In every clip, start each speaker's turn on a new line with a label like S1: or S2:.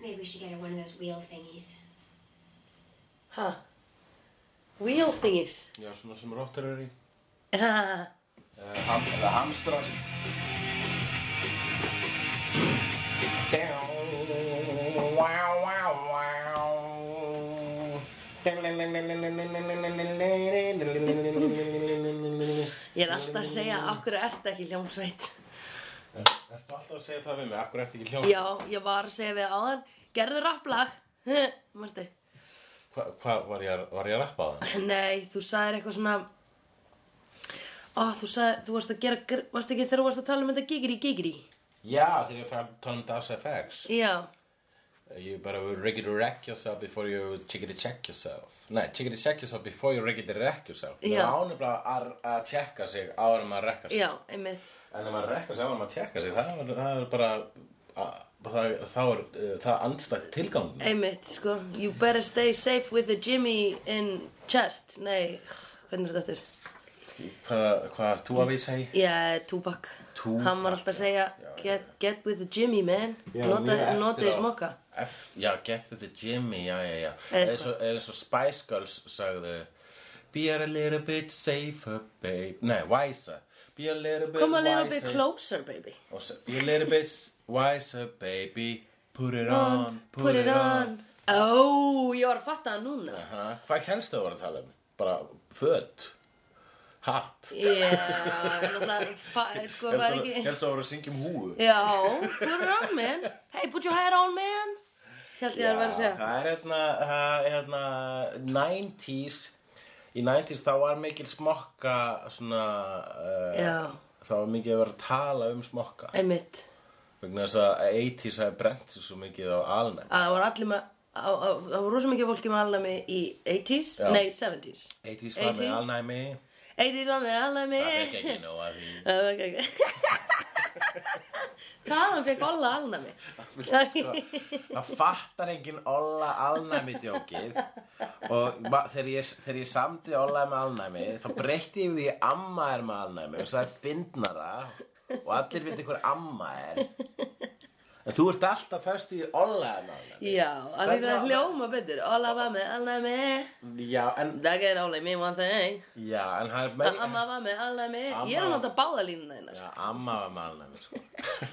S1: Maybe we should get her one of those wheel thingies.
S2: Ha. Wheel thingies.
S3: Já, svona sem rottar eru í.
S2: Ha.
S3: Uh, ham, eða hamstrar.
S2: Ég er alltaf að segja, okkur ertu ekki hljómsveit.
S3: Ertu alltaf að segja það við mig? Akkur ertu ekki hljóð?
S2: Já, ég var að segja við áðan, gerðu rapplag. Manstu?
S3: Hvað hva, var, ég að- var ég að rappa á það?
S2: Nei, þú sagðir eitthvað svona... Ó, þú sagðir, þú varst að gera, gr- varst ekki þegar þú varst að tala um þetta gigri gigri.
S3: Já, þegar ég var að tala um Das FX.
S2: Já,
S3: You better riggedy wreck yourself before you chickity check yourself. Nei, chickity check yourself before you riggedy wreck yourself.
S2: Já.
S3: Það ánum bara að, að tjekka uh, sig áður en maður rekkar sig.
S2: já, einmitt.
S3: En ef maður rekkar sig áður en maður tjekka sig, það er, það er bara, að, það, það er, eh, það andstætt tilgang.
S2: Einmitt, sko. You better stay safe with the Jimmy in chest. Nei, hvernig er þetta aftur?
S3: Hvað, hvað ert þú að við segja?
S2: Já, Tupac.
S3: Tupac,
S2: Hann var alltaf að segja,
S3: já, já,
S2: get, get with the Jimmy, man.
S3: Já, mjög
S2: Nota-
S3: eftir
S2: Notaði
S3: á-
S2: smokka.
S3: F, já, get with the Jimmy, já, já, já.
S2: Eða
S3: Eins og, eins og Spice Girls sagðu Be a little bit safer, babe. Nei, wiser. Be a little bit
S2: Come a little bit
S3: wiser.
S2: closer, baby.
S3: Og svo, be a little bit s- wiser, baby. Put it on, put, it, on.
S2: Ó, Oh, ég var að fatta það núna.
S3: Aha. Hvað helst það voru að tala um? Bara föt, hatt.
S2: Já, náttúrulega, fa- sko, það er ekki...
S3: Helst það voru að syngja um húu.
S2: Já, put it on, man. Hey, put your hat on, man. Hjælt ég að vera að segja.
S3: það er hérna, það er hérna 90s Í 90s þá var mikil smokka svona uh,
S2: Já,
S3: þá var mikið að vera að tala um smokka
S2: einmitt.
S3: vegna þess að 80s hafi brent sig svo mikið á alnæm
S2: Að Það var allir með... á- á- Það var rosa mikið fólki með alnæmi í 80s,
S3: Já.
S2: nei 70s.
S3: 80s var með
S2: 80s.
S3: alnæmi
S2: 80s var með alnæmi.
S3: Það fekk ekki nóg að því
S2: Það var ekki Þaðan fekk Olla alnæmi
S3: Sko, Það fattar enginn Olla alnæmi djókið og ma- þegar ég, þegar ég samti Olla með alnæmi þá breytti ég við því amma er með alnæmi og það er fyndnara og allir veit hver amma er en þú ert alltaf föst í Olla er með alnæmi
S2: Já, að því það er hljóma betur Olla var með alnæmi
S3: Já, en,
S2: That can only mean one thing
S3: já, en hann er með
S2: Amma var með alnæmi Ég er að nota báða línuna hérna
S3: Já, amma var með alnæmi sko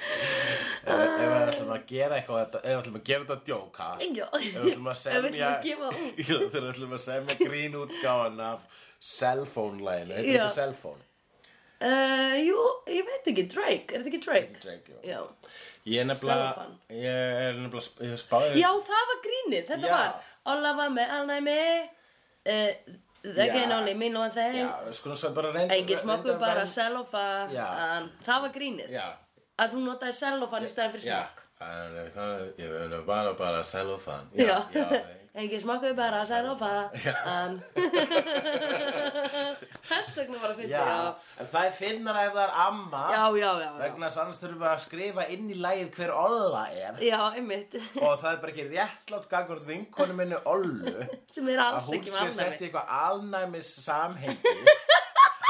S3: Ef ef við ætlum að gera eitthvað þetta- ef við ætlum að gera þetta djóka
S2: Já.
S3: Ef við ætlum að
S2: Ef við ætlum
S3: semja
S2: að gefa út.
S3: Já, Þegar við ætlum að semja grínútgáðan af cellphone-læginu Heitir
S2: Já.
S3: þetta cellphone?
S2: uh, Jú, ég veit ekki, Drake, er þetta ekki Drake?
S3: Drake, jú.
S2: Já.
S3: Ég er nefnilega
S2: Cellophane.
S3: Ég er nefnilega sp- ég spáði
S2: Já, það var grínið, þetta
S3: Hm. Já.
S2: var Olla var með alnæmi uh, That
S3: Já.
S2: can only mean one thing
S3: Já, sko, við skulum svo bara reynda
S2: Engi smokku bara cellofan
S3: Já.
S2: Það var grínið
S3: Já,
S2: Að þú notaði cellofan í stæðan fyrir
S3: já
S2: smokk
S3: En, eh, hvað- Ég vil bara bara cellofan
S2: Já,
S3: já
S2: engin smakku bara særofa en þess vegna var að finna
S3: Já,
S2: já,
S3: en það er finnara ef það er amma
S2: já, já, já, já.
S3: vegna þess að annars þurfum við að skrifa inn í lægið hver Olla er
S2: já einmitt,
S3: og það er bara ekki réttlátt gangvart vinkonu minni Ollu
S2: sem er
S3: að
S2: alls
S3: hún
S2: ekki
S3: sé sett í
S2: vannari.
S3: eitthvað alnæmis samhengi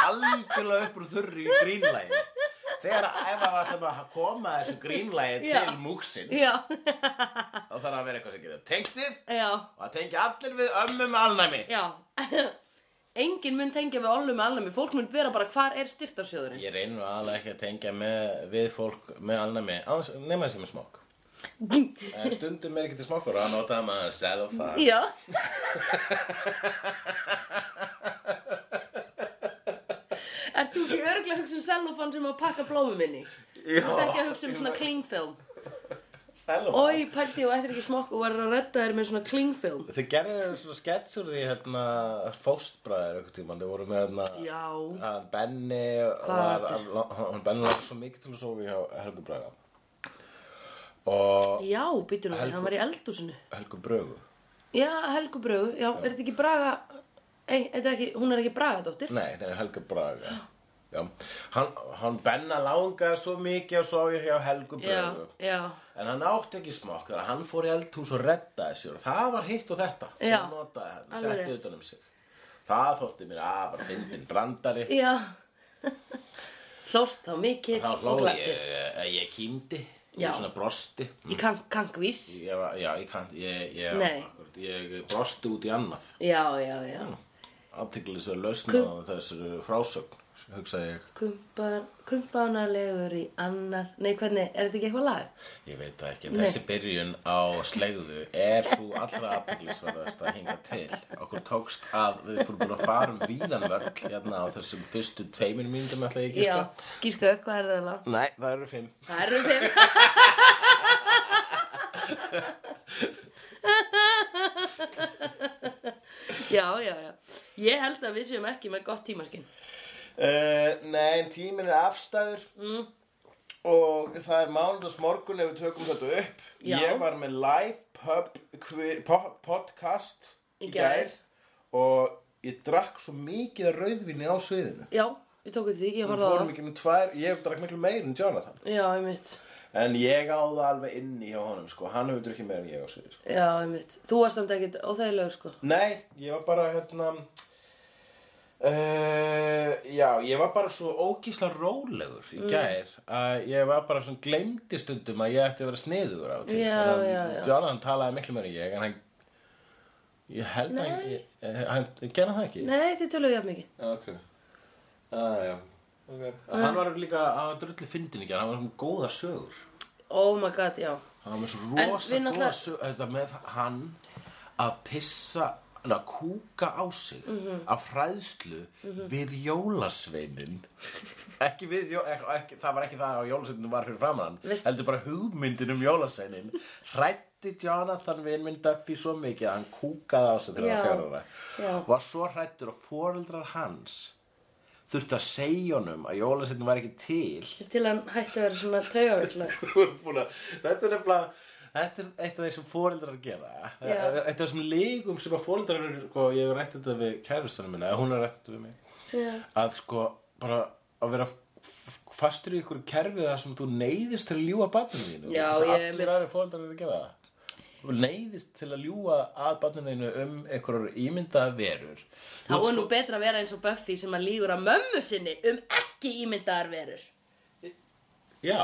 S3: algjörlega upp úr þurri í grínlægi þegar að ef að við ætlum að koma þessu grínlægi
S2: Já.
S3: til múksins
S2: Já,
S3: þá þarf að vera eitthvað sem getur tengtið
S2: já,
S3: og að tengja allir við ömmu með alnæmi
S2: já. Engin mun tengja við ollu með alnami, fólk mun vera bara hvar er styrtarsjóðurinn.
S3: Ég reynum aðalega ekki að tengja með, við fólk með alnæmi, án- nema þessi með smokk En stundum er ekki til smokkur og að nota maður selfa
S2: Já, Ert þú ekki örglega að hugsa um cellofan sem á að pakka blómum inni?
S3: Já,
S2: Ert ekki að hugsa um svona cling film?
S3: selfa
S2: Ói, pælti og eftir ekki smokk og var að redda þér með svona klingfilm.
S3: Þið gerðu svona sketsur í hérna fóstbræðir eitthvað tíma Þið voru með hérna
S2: Já.
S3: hann Benni
S2: Hvað
S3: var,
S2: var
S3: hann Benni var svo mikið til að sofa hjá Helgu Braga og
S2: Já, býtur nú,
S3: Helgu-
S2: hann var í eldúsinu.
S3: Helgu Brögu
S2: Já, Helgu Brögu, já, er þetta ekki Braga... Ei, þetta er ekki, hún er ekki Braga, dóttir.
S3: Nei, nei, Helga Braga Já, hann, hann Benna langaði svo mikið að sofa hjá Helgu
S2: Já,
S3: Brögu
S2: já,
S3: En hann átti ekki smokk þegar hann fór í eldhús og reddaði sér og það var hitt og þetta sem
S2: Já,
S3: hann notaði hann,
S2: alveg
S3: setti
S2: rétt.
S3: utan um sig. Það þótti mér afar fyndin brandari.
S2: já. Hlóst þá mikið
S3: Þá
S2: og
S3: hló ég, eh,
S2: gladdist.
S3: ég, ég kýmdi. og
S2: Já.
S3: ég svona brosti
S2: Í kank, kankvís.
S3: ég var, já, ég kann, ég, ég,
S2: Nei.
S3: akkurat, ég brosti út í annað
S2: Já, já, já.
S3: afteklisver lausna á þessari frásögn hugsaði ég,
S2: Kumban, kumbanalegur í annað. Nei, hvernig, er þetta ekki eitthvað lag?
S3: ég veit það ekki en þessi byrjun á slegðu er svo allra afteklisverðast að hinga til okkur tókst að við fórum búin að fara um víðan vörl hérna á þessum fyrstu tveimur mínútum ætla ég
S2: Já, gíska,
S3: gíska
S2: hvað er það lag?
S3: nei, það eru fimm
S2: Það eru þeim. já, já, já. Ég held að við séum ekki með gott tímaskinn.
S3: Uh, nei, en tíminn er afstæður mm. og það er mánudags morgun ef við tökum þetta upp.
S2: Já.
S3: Ég var með live pub, kvi, po, podcast
S2: Í gær.
S3: og ég drakk svo mikið af rauðvinni á sviðinu.
S2: Já, við tókum því, ég
S3: Við
S2: horfði á
S3: fórum
S2: það.
S3: ekki með tvær, ég drakk miklu meir en Jonathan.
S2: Já, einmitt.
S3: En ég á það alveg inni hjá honum, sko. Hann hefur drukkið meir en ég á sviðinu, sko.
S2: Já, einmitt. Þú varst samt ekkert óþægilegur, sko.
S3: Nei, ég var bara, hérna... Uh, já, ég var bara svo ógísla rólegur í
S2: Mm.
S3: gær að ég var bara svona glemdi stundum að ég ætti að vera sniður á til
S2: Já,
S3: En hann-
S2: já, já.
S3: Jonathan talaði miklu meira en ég en hann ég held að hann, ég, eh, hann gerði það ekki
S2: Nei, þið töluðu jafn mikið.
S3: ok ah, já. Okay.
S2: Ah.
S3: hann var líka að drulli fyndin ekki hann var svona góða sögur
S2: Oh my god, já.
S3: hann var með svo
S2: En
S3: rosa
S2: við
S3: góða
S2: náttúrulega-
S3: sögur þetta með hann að pissa að kúka á sig
S2: Mhm.
S3: af fræðslu við jólasveinin ekki við jó, ekki, ekki, það var ekki það að jólasveinin var fyrir framann
S2: Veist-
S3: heldur bara hugmyndin um jólasveinin hrætti Jonathan vin minn Duffy svo mikið að hann kúkaði á sig þegar hann
S2: Já,
S3: var
S2: já.
S3: fjárara var svo hrættur að foreldrar hans þurfti að segja honum að jólasveinin var ekki til
S2: Til hann hætti að vera svona taugavillar.
S3: voru búin að þetta er nefnilega Þetta er eitt af þeir sem fóreldrar gera
S2: Já.
S3: Eitt af þessum líkum sem að fóreldrar eru sko, Ég hef rætt þetta við kæristanum minna Hún er rætt þetta við mig
S2: Já.
S3: Að sko bara að vera f- f- fastur í ykkur kerfi þar sem þú neyðist til að ljúga barninu þínu
S2: Já,
S3: Þess að
S2: ég-
S3: Allir aðri fóreldrar eru að gera það Þú neyðist til að ljúga að barninu þínu um einhverjar ímyndaða verur
S2: Þá er nú betra að vera eins og Buffy sem að lígur að mömmu sinni um ekki ímyndaðar verur.
S3: Já,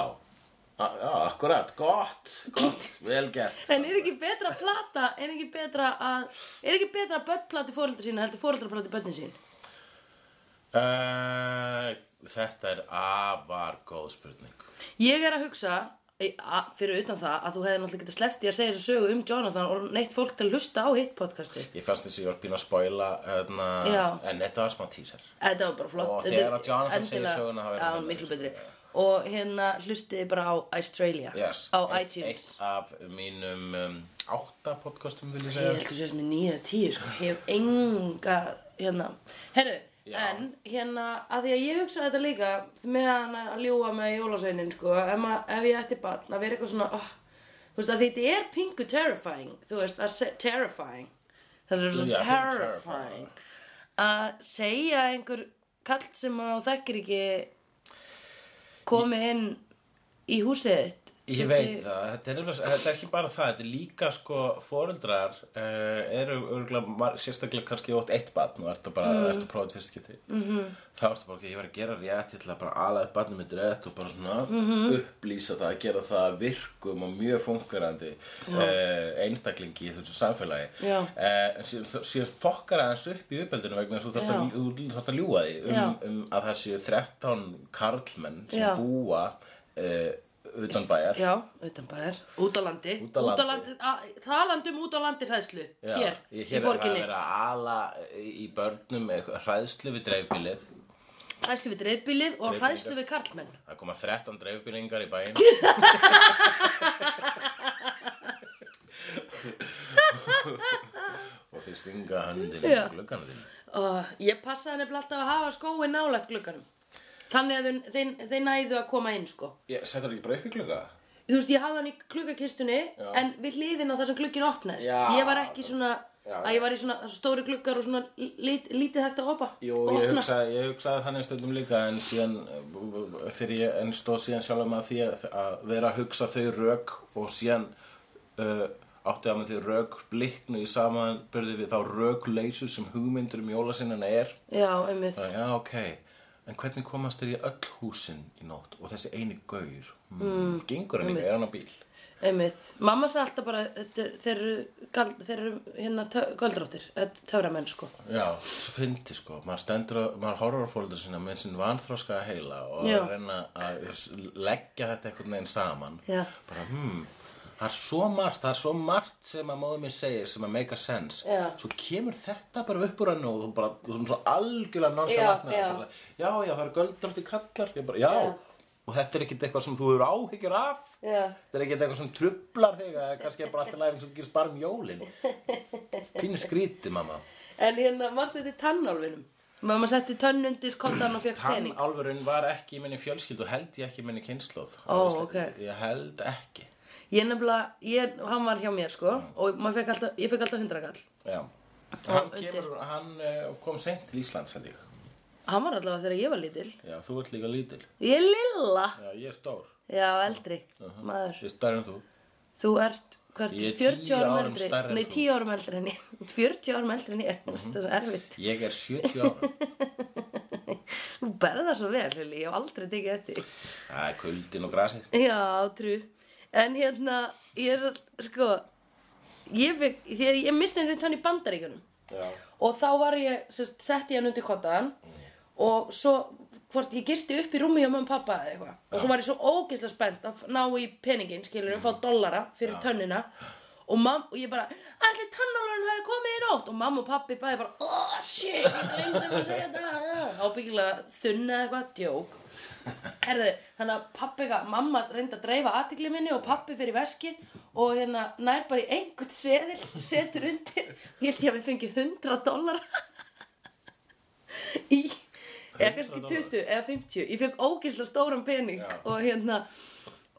S3: a- já, akkurat, gott, gott, vel gert
S2: En er ekki betra að plata, er ekki betra að, er ekki betra að börn plati fóröldra sína heldur fóröldra plati börnin sín?
S3: Uh, þetta er afar góð spurning.
S2: Ég er að hugsa, í- a- fyrir utan það, að þú hefði náttúrulega getað sleppt í að segja þessu sögu um Jonathan og neitt fólk til að hlusta á hitt podcasti.
S3: Ég fannst þess að ég var pín að spoila, hérna,
S2: Já.
S3: en þetta var smá tíser.
S2: Þetta var bara flott.
S3: Og
S2: Þetta er
S3: þegar að Jonathan segir
S2: endilega-
S3: söguna, þá verður
S2: Já,
S3: þetta
S2: miklu
S3: betra.
S2: betri. Og hérna hlustiði bara á Australia.
S3: Yes.
S2: Á
S3: Eitt-
S2: iTunes.
S3: Eitt af mínum um, átta podcastum, vil ég
S2: Ég
S3: segja.
S2: held að sést með nýja tíu sko, ég hef engar hérna, herru,
S3: Já.
S2: en hérna að því að ég hugsaði þetta líka meðan að ljúa með jólasveinin sko, ef, ma, ef ég ætti barn að vera eitthvað svona oh, þú veist að því þetta er pingu terrifying þú veist, að se- terrifying það er svo
S3: Já, pínu terrifying.
S2: terrifying að segja einhver kall sem á þekkir ekki komi inn í húsið þitt,
S3: Ég
S2: sem
S3: veit
S2: þið-
S3: það, þetta er, nefnilega- þetta er ekki bara það, þetta er líka sko foreldrar uh, eru örgulega, mar- sérstaklega kannski ótt eitt batn og ertu bara, mm. ertu prófið fyrst skipti.
S2: Mhm.
S3: -hmm. Þá ertu bara, ok, ég var að gera rétt, ég ætla að bara ala upp batnum mitt rétt og bara svona
S2: Mhm.
S3: upplýsa það, gera það að virkum og mjög fungerandi uh, einstaklingi í þessu samfélagi.
S2: Já.
S3: Eh, en síðan, þá- síðan fokkar aðeins upp í uppeldinu vegna þess að þú þarft að-
S2: Já.
S3: þú þarft að ljúga því um,
S2: Já.
S3: um að það séu 13 karlmenn sem
S2: Já.
S3: búa uh, utan bæjar.
S2: Já, utan bæðar, út á landi
S3: Út á landi.
S2: a- Talandi um út á landi hræðslu
S3: Já,
S2: Hér, í
S3: ég- hér
S2: borginni
S3: Það er verið að ala í börnum eitthvað hræðslu við dreifbílið.
S2: Hræðslu við dreifbílið og hræðslu við karlmenn
S3: Það koma 13 dreifbílingar í bæinn. og þeir stinga höndin í
S2: Já.
S3: gluggana þín.
S2: uh, Ég passaði nefnilega alltaf að hafa skói nálægt glugganum Þannig að þeir, þeir, þeir næðu að koma inn sko
S3: Ég setur ekki bara upp í glugga?
S2: Þú veist, ég hafði hann í kluggakistunni
S3: Já.
S2: En við hliðin á það sem glugginn opnaðist
S3: Já.
S2: Ég var ekki svona
S3: Já.
S2: Að ég var í svona það eru stóri gluggar og svona lit, lítið hægt að hoppa
S3: Jú,
S2: og
S3: ég
S2: opna.
S3: hugsaði, ég hugsaði þannig stundum líka en síðan, eh, þegar ég en stóð síðan sjálf með því að, að vera að hugsa þau rök og síðan uh, átti að með því rök bliknu í samanbyrði við þá rökleysu sem hugmyndur um jólasinnan er.
S2: Já, einmitt
S3: Það, já, ok, en hvernig komast þér í öll húsin í nótt og þessi eini gaur? Hmm. mm. gengur hann líka, er hann á bíl
S2: einmitt. Mamma sagði alltaf bara, þetta er- þeir eru, gal, þeir eru hérna göldráttir, töframenn sko.
S3: Já, svo fyndi sko, maður stendur að, maður horfur á fólkdur sína með sinn vanþroska að heila og
S2: Já.
S3: að reyna að leggja þetta einhvern veginn saman
S2: Já.
S3: bara, hmm, það er svo margt það er svo margt sem að móður minn segir sem að make a sense,
S2: Já.
S3: svo kemur þetta bara upp úr hennu og þú bara, þú erum svo algjörlega
S2: Já,
S3: nonchalant með
S2: já.
S3: það, bara, já, já, það eru göldrótti kallar, ég bara, já,
S2: Já.
S3: og þetta er ekkert eitthvað sem þú eru áhyggjur af
S2: Já.
S3: Þetta er ekkert eitthvað sem trublar þig að kannski er bara alltaf læring sem þú gerist bara um jólin. Pínu skríti, mamma.
S2: En hérna, varstu þetta í tannálfinum? Mamma setti tönnundis, kontan og fekk
S3: Hann
S2: pening.
S3: alvörun var ekki í minni fjölskyldu, held ég ekki í minni kynnslóð.
S2: Ó, ok.
S3: Ég held ekki.
S2: Ég nefnilega, ég, hann var hjá mér sko og maður fekk alltaf, ég fekk alltaf hundrakall.
S3: Já. Hann,
S2: undir.
S3: kemur, hann eh, kom seint til Íslands, held ég.
S2: Hann var allavega þegar ég var lítil.
S3: Já, þú ert líka lítil.
S2: Ég er lilla.
S3: Já, ég er stór.
S2: Já, eldri, maður.
S3: Ég er stærri en þú.
S2: Þú ert, hvert,
S3: Ég er
S2: 40
S3: tíu
S2: árum
S3: árum
S2: eldri?
S3: stærri en
S2: Nei,
S3: þú.
S2: 10 árum eldri en ég. 40 árum eldri en ég. Það er svo erfitt.
S3: Ég er 70 ára.
S2: Þú berða svo vel, Lili. Ég hef aldrei tekið eftir.
S3: Það er kuldin og grasið.
S2: Já, trú. En hérna, ég er, svo- sko, ég fekk, þegar ég misti einu tönn í bandaríkunum
S3: Já.
S2: og þá var ég, sérst, setti ég hann undir kottaðan og svo, hvort ég gisti upp í rúmi hjá mömmu og pappa eða eitthvað og svo var ég svo ógeðslega spennt að ná í peningin, skilur, mm. fá dollara fyrir tönnina og, mam, og ég bara, ætli tannalurinn hafi komið í nótt og mamma og pappi bæði bara, oh shit, ég glemdum að segja þetta, ábyggilega þunna eitthvað, djók. Herðu, þannig að pappi eitthvað, mamma reyndi að dreifa aðtikli minni og pappi fyrir veski og hérna nær bara í einhvern seðil, setur undir og ég held ég að við fengið 100 dólar í, eða
S3: 100
S2: kannski
S3: dollara?
S2: 20 eða 50, ég fekk ógeðslega stóran pening
S3: Já.
S2: og hérna,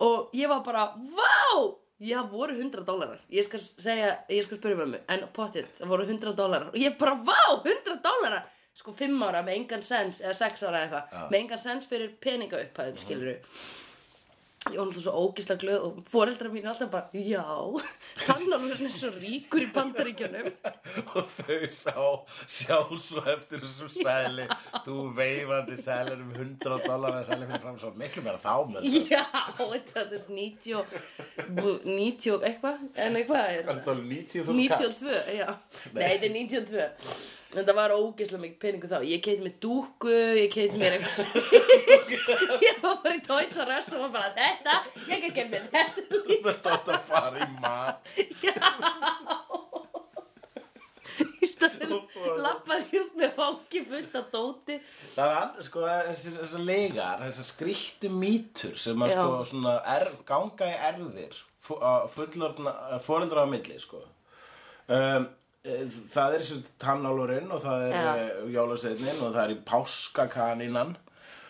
S2: og ég var bara, vá, já voru 100 dólarar, ég skal segja, ég skal spyrja mömmu, en pottið, það voru 100 dólarar og ég bara, vá, 100 dólarar, sko 5 ára með engan sens, eða 6 ára eða eitthvað,
S3: Já. Mhm.
S2: með engan sens fyrir peningaupphæðum, mm skilur Ég var náttúrulega svo ógislega glöð og foreldrar mín er alltaf bara, já, tannálfurinn er svo ríkur í bandaríkjunum.
S3: og þau sá, sjá svo eftir þessum sæli þú veifandi sælir um 100 dólar að sæli fyrir fram svo miklu meira þá með þetta
S2: Já, þetta er 90, og- bú- 90 og eitthvað, en eitthvað er
S3: Þetta var 90.000 kall.
S2: 92, já. Nei, þetta er 92. En það var ógeðslega mikið peningu þá. Ég keiti mér dúku, ég keiti mér eitthvað svo. ég var bara í Toys R Us og var bara, þetta, ég kan kemja þetta líka.
S3: Þetta átt að fara í mat
S2: Í staðinn lappaði út með fangi fullt af dóti.
S3: Það er annars sko það er þessir þessar legar, þessar skrýttu mýtur sem að
S2: Já.
S3: sko svona er, ganga í erðir fu- á fullorðna, fóreldra á milli sko um, eh, Það er þessi tannálurinn og það
S2: Já.
S3: er jólaseinnin og það er í páskakanínan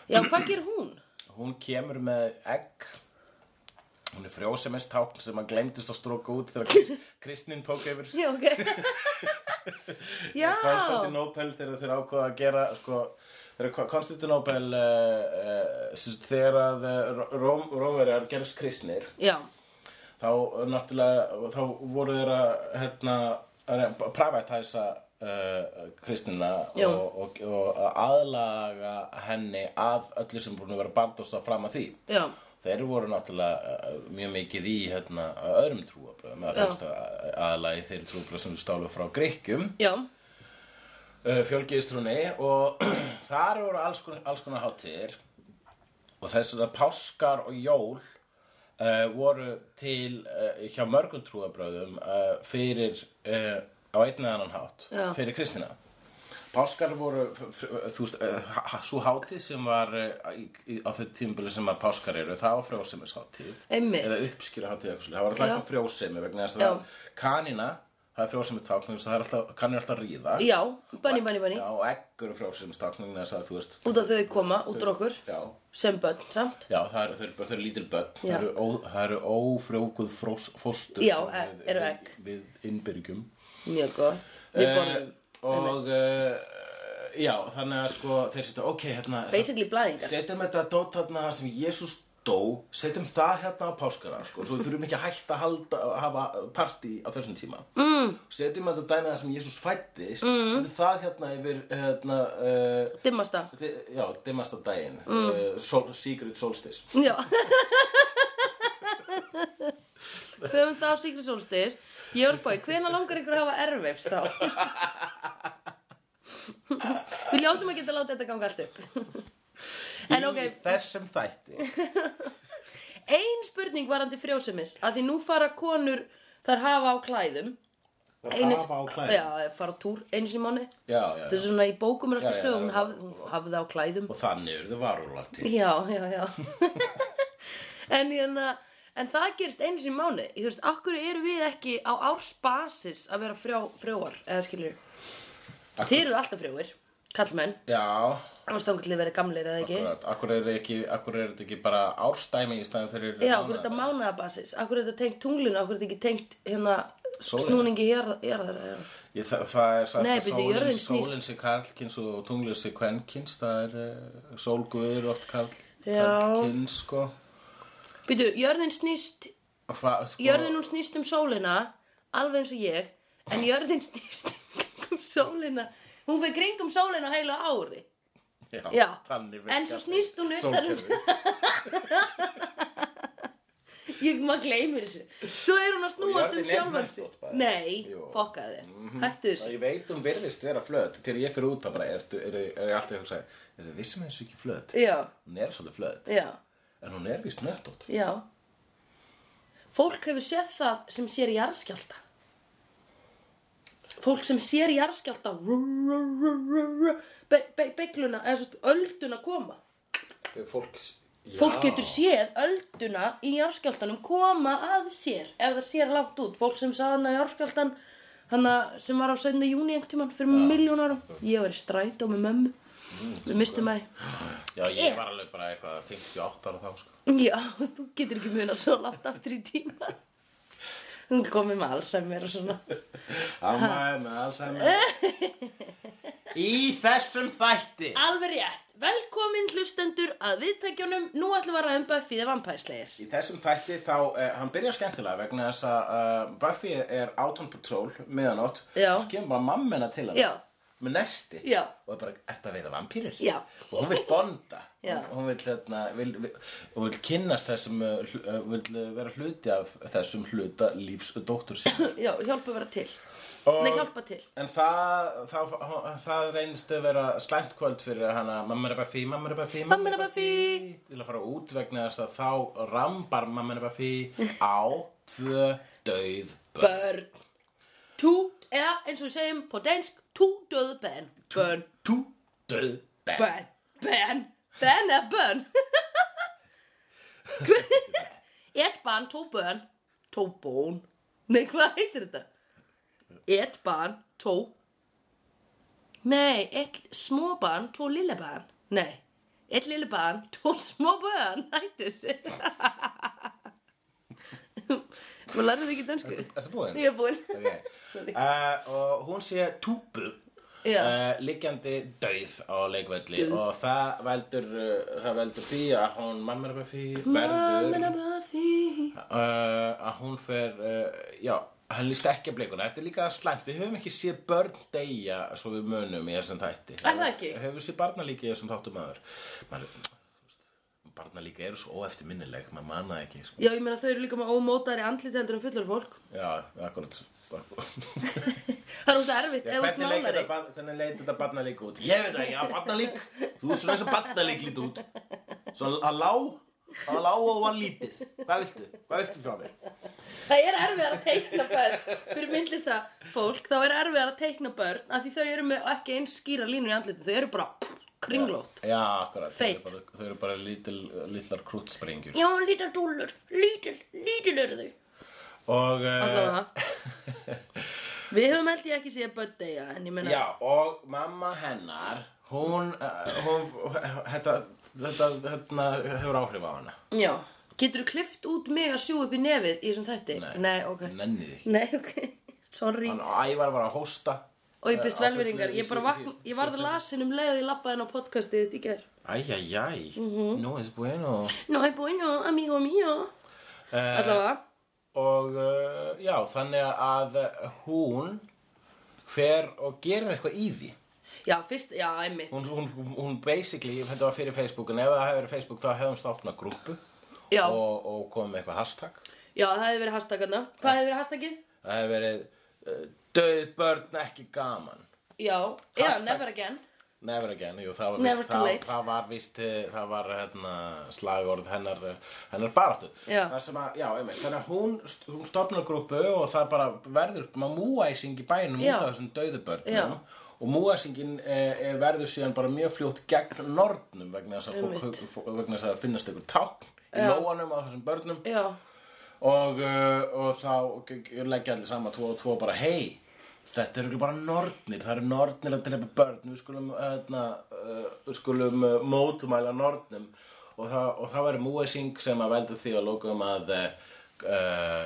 S2: Já, hvað ger hún?
S3: Hún kemur með egg Hún er frjósemistákn sem að glemdist að stróka út þegar krist, kristnin tók yfir
S2: Já, ok. Já.
S3: Konstantinopel þegar þeir ákvaða að gera sko, þegar Konstantinopel uh, uh, þegar að eh, Róm, Rómverjar gerist kristnir
S2: Já,
S3: þá eh, náttúrulega þá voru þeir að hérna, að reyna að privatæsa uh, kristina
S2: Jú.
S3: og, og, og aðlaga henni að öllu sem búin að vera bandósta fram að því
S2: já,
S3: Þeir voru náttúrulega uh, mjög mikið í hérna, öðrum trúabröðum eða
S2: Já.
S3: þú veist að- aðalagi þeir trúabröð sem stálu frá Grikkjum
S2: já,
S3: uh, fjölgiðistrúni og þar voru alls konar, alls konar hátíðir og þess að páskar og jól uh, voru til uh, hjá mörgum trúabröðum uh, fyrir uh, á einn eða annan hátt
S2: Já.
S3: fyrir kristina Páskar voru, f- f- þú veist, uh, svo hátíð sem var uh, í, í- á þau tímabili sem að páskar eru, það var frjósemishátíð.
S2: Einmitt.
S3: Eða uppskýra hátíð eitthvað svolítið. Það var alltaf eitthvað frjósemi vegna þess að
S2: Já.
S3: það var kanina, það er frjósemi tákn, það er alltaf, kanina er alltaf að ríða.
S2: já, banni, banni, banni.
S3: Já, og egg eru frjósum stakningin þess að þú veist
S2: Út af þau koma, út úr okkur,
S3: Já,
S2: sem börn samt.
S3: já það eru, þau eru, þau eru lítil börn það
S2: Já.
S3: eru, ó, það eru ófrjókuð frós, fóstur
S2: Já,
S3: sem
S2: egg-
S3: við-
S2: eru egg.
S3: Við, við innbyrgjum
S2: Mjög gott. Við
S3: Eh,
S2: borðum.
S3: Og uh, já, þannig að sko þeir setja, ok, hérna
S2: Basically blæðingar.
S3: Setjum þetta dót þarna þar sem Jésús dó Setjum það hérna á páskara sko, Svo við þurfum ekki að hætta að halda, að hafa partí á þessum tíma mm. Setjum þetta dæmið þar sem Jésús fættist mm. Setjum það hérna yfir hérna, uh,
S2: Dimmasta.
S3: Eh, Þi- Já, dimmasta daginn mm. uh, sol, Secret Solstice
S2: Já. Höfum þá Sigrid Solstis Ég var bói, hvenær langar ykkur að hafa erfifs þá? Við ljótum að geta láta þetta ganga allt upp En ok,
S3: Í þessum þætti
S2: ein spurning varandi frjósumis að því nú fara konur þar hafa á klæðum
S3: Það hafa á klæði
S2: Já, fara á túr einu sinni í mánuði
S3: já, já,
S2: Þetta er svona í bókum er alltaf
S3: Já, já,
S2: skrifa, hún
S3: já.
S2: hafði, hún hafði á klæðum
S3: Og þannig eru þau varúlar til
S2: Já, já, já En hérna En það gerist einu sinni í mánu Þú veist, akkur eru við ekki á ársbasis að vera frjó, frjóar eða skilur
S3: Akkur-
S2: Þið eruð alltaf frjóir, kallmenn
S3: Já,
S2: ástangull verið gamlir eða ekki
S3: akkurat Akkur er þetta ekki, akkur er þetta ekki bara árstæmi í staðum fyrir
S2: Já,
S3: mánaðar?
S2: akkur er þetta mánaðabasis Akkur er þetta tengt tunglinu, akkur er þetta ekki tengt hérna
S3: Sólinni.
S2: snúningi jarðar jarðar- jarðar.
S3: Ég, það, það er sagt
S2: Nei,
S3: að
S2: bíddu,
S3: sólin,
S2: jörðin snýst.
S3: sólin sé karlkins og tunglið sé kvenkyns það er uh, sólguður oft karl,
S2: Já.
S3: karlkins sko.
S2: Býtu, jörðin snýst
S3: Og Hva, sko
S2: Jörðin hún snýst um sólina alveg eins og ég en jörðin snýst um sólina hún fyrir kringum sólina á heilu ári
S3: já,
S2: já,
S3: þannig
S2: en
S3: virkar
S2: svo snýst hún utan um-
S3: sólkerfið.
S2: ég maður gleymir þessu svo er hún að snúast um
S3: jörðin er
S2: sjálfan sig
S3: hnöttótt bara.
S2: nei,
S3: Jú.
S2: fokkaði þér hættu
S3: Það
S2: þessu
S3: ég veit um virðist vera flöt þegar ég fyrir út þá bara er, er, er, er ég alltaf um að hugsa er það vissum eins og ekki flöt
S2: já,
S3: hún er svolítið flöt
S2: já,
S3: en hún er vist nöttótt
S2: já fólk hefur séð það sem sér jarðskjálta fólk sem sér jarðskjálta rú, rú, rú, rú, rú, be, be, begluna eða svo ölduna koma
S3: fólk,
S2: Fólk getur séð ölduna í jarðskjáltanum koma að sér ef það sér langt út. Fólk sem sá hana í jarðskjáltan hana sem var á 7. júni einhvern tímann fyrir ja. miljónarum. Ég var í strætó með mömmu. Við mistum að
S3: já ég var alveg bara eitthvað 58 ára þá sko
S2: Já, þú getur ekki muna svo langt aftur í tíma. Hún komið með Alzheimer og svona.
S3: amma er með alzheimer í þessum þætti
S2: Alveg rétt. Velkomin hlustendur að viðtækjunum. Nú ætlum við að ræðum Buffy the Vampire Slayer.
S3: Í þessum þætti þá, uh, hann byrjar skemmtilega vegna þess að uh, Buffy er out on patrol meðanótt
S2: Já.
S3: Svo kemur bara mammina til hann
S2: Já.
S3: Með nesti
S2: Já.
S3: Og er bara, ert að veiða vampýrir?
S2: Já.
S3: Og hún vil bonda
S2: Já.
S3: Hún- Hún vil, hérna, vil, vil, hún vil kynnast þessum, uh, hl- uh, vil uh, vera hluti af þessum hluta lífs dóttur sinni
S2: Já, hjálpa vera til.
S3: Og-
S2: Nei, hjálpa til.
S3: En það, það, það reynist að vera slæmt kvöld fyrir hana Mamma er bara fí, mamma er bara fí,
S2: Mamma er bara fí.
S3: Til að fara út vegna þess að þá rambar mamma er bara fí á tvö döið börn
S2: börn Tú, eða eins og við segjum på dansk Tú döðu bönn Bönn,
S3: Tú döið börn
S2: bönn, bönn Bönn eða bönn Eitt barn, tó bönn Tó bón Nei, hvað heitir þetta? Eitt barn, tó Nei, eitt smó barn, tó lille barn Nei, eitt lille barn, tó smó barn Hættu sér Þú lærðu ekki dansku?
S3: Ertu búinn?
S2: Ég er búinn
S3: Okay.
S2: Sorry.
S3: Uh, og hún sé túbu
S2: Já.
S3: uh, liggjandi döið á leikvelli og það veldur, uh, það veldur því að hún mamma er bara fí verður
S2: Mamma Buffy
S3: uh, að hún fer uh, já, hann líst ekki að blikuna þetta er líka slæmt, við höfum ekki séð börn deyja svo við munum í þessum þætti
S2: Er það ekki?
S3: Höfum við séð barnalíki í þessum þáttum aður maður, þú veist, barnalíki eru svo óeftirminnileg maður manna ekki sko.
S2: Já, ég meina þau eru líka með ómótari andlit heldur en fullar fólk
S3: já, akkurat akkurat.
S2: Það er ósað erfitt ef þú ert
S3: hvernig leit
S2: málari
S3: þetta, barn- hvernig leit þetta barnalík út ég veit það ekki, að barnalík þú veist svona eins og barnalík lít út svona að lá að lá og var lítið hvað viltu, hvað viltu frá mig
S2: Það er erfiðar að teikna börn Fyrir myndlista fólk þá er erfiðar að teikna börn af því þau eru með ekki eins skýra línur í andlitin Þau eru bara kringlót
S3: Já, akkurat, þau eru
S2: Feit.
S3: bara, þau eru bara lítil, lítlar krútsprengjur
S2: Já, lítar dúllur, lítil, lítil eru þau
S3: Og, uh,
S2: Allavega Við höfum held ég ekki séð börn deyja En ég meina
S3: já, og mamma hennar, hún, uh, hún, þetta, þetta, þetta hefur áhrif á hana.
S2: Já. Geturðu klift út mig að sjú upp í nefið í þessum þætti? Nei ok
S3: Nennið ekki.
S2: Nei, ok, sorry
S3: Hann ævar var að hósta.
S2: Og ég byrst
S3: Eh, á fullu
S2: velveringar, ég
S3: í
S2: bara
S3: sí-
S2: vakna,
S3: sí-
S2: ég varð lasin um leið og ég labbaði inn á podcastið þitt í gær.
S3: Æjæjæj,
S2: Mhm.
S3: nú er bueno.
S2: No, ég búin og amigo mío.
S3: Uh,
S2: Allavega,
S3: og uh, já, þannig að hún fer og gerir eitthvað í því.
S2: já, fyrst, já, einmitt.
S3: Hún, hún, hún basically, þetta var fyrir Facebook, en ef það hefði verið Facebook þá hefði hún stopnað grúpu
S2: Já,
S3: og, og komið með eitthvað hashtag.
S2: Já, það hefði verið hashtagana.
S3: Eh.
S2: Hvað hefði verið hashtagið?
S3: Það hefur verið uh, döð börn ekki gaman.
S2: Já, eða
S3: Hashtag.
S2: never again.
S3: Never again, jú, það var
S2: Never
S3: víst,
S2: too
S3: það,
S2: late.
S3: það var víst, eh, það var hérna, slagorð hennar, eh, hennar baráttu.
S2: Já.
S3: Það sem að, já, einmitt, þannig að hún, st- hún stopnar grúpu og það bara verður, maður múæsing í bænum
S2: Já.
S3: út af þessum döðubörnum.
S2: Já.
S3: Og múæsingin eh, eh, verður síðan bara mjög fljótt gegn nornum vegna þess að, fólk,
S2: Einmitt.
S3: fólk, vegna þess að það finnast einhver tákn í lóanum á þessum börnum.
S2: Já,
S3: og, uh, og þá g- g- leggja allir sama tvo og tvo bara hei þetta eru bara nornir, það eru nornir að drepa börn við skulum, öðna, uh, við skulum uh, mótumæla nornum og það, og það væri múesing sem að veldu því að lókum að uh,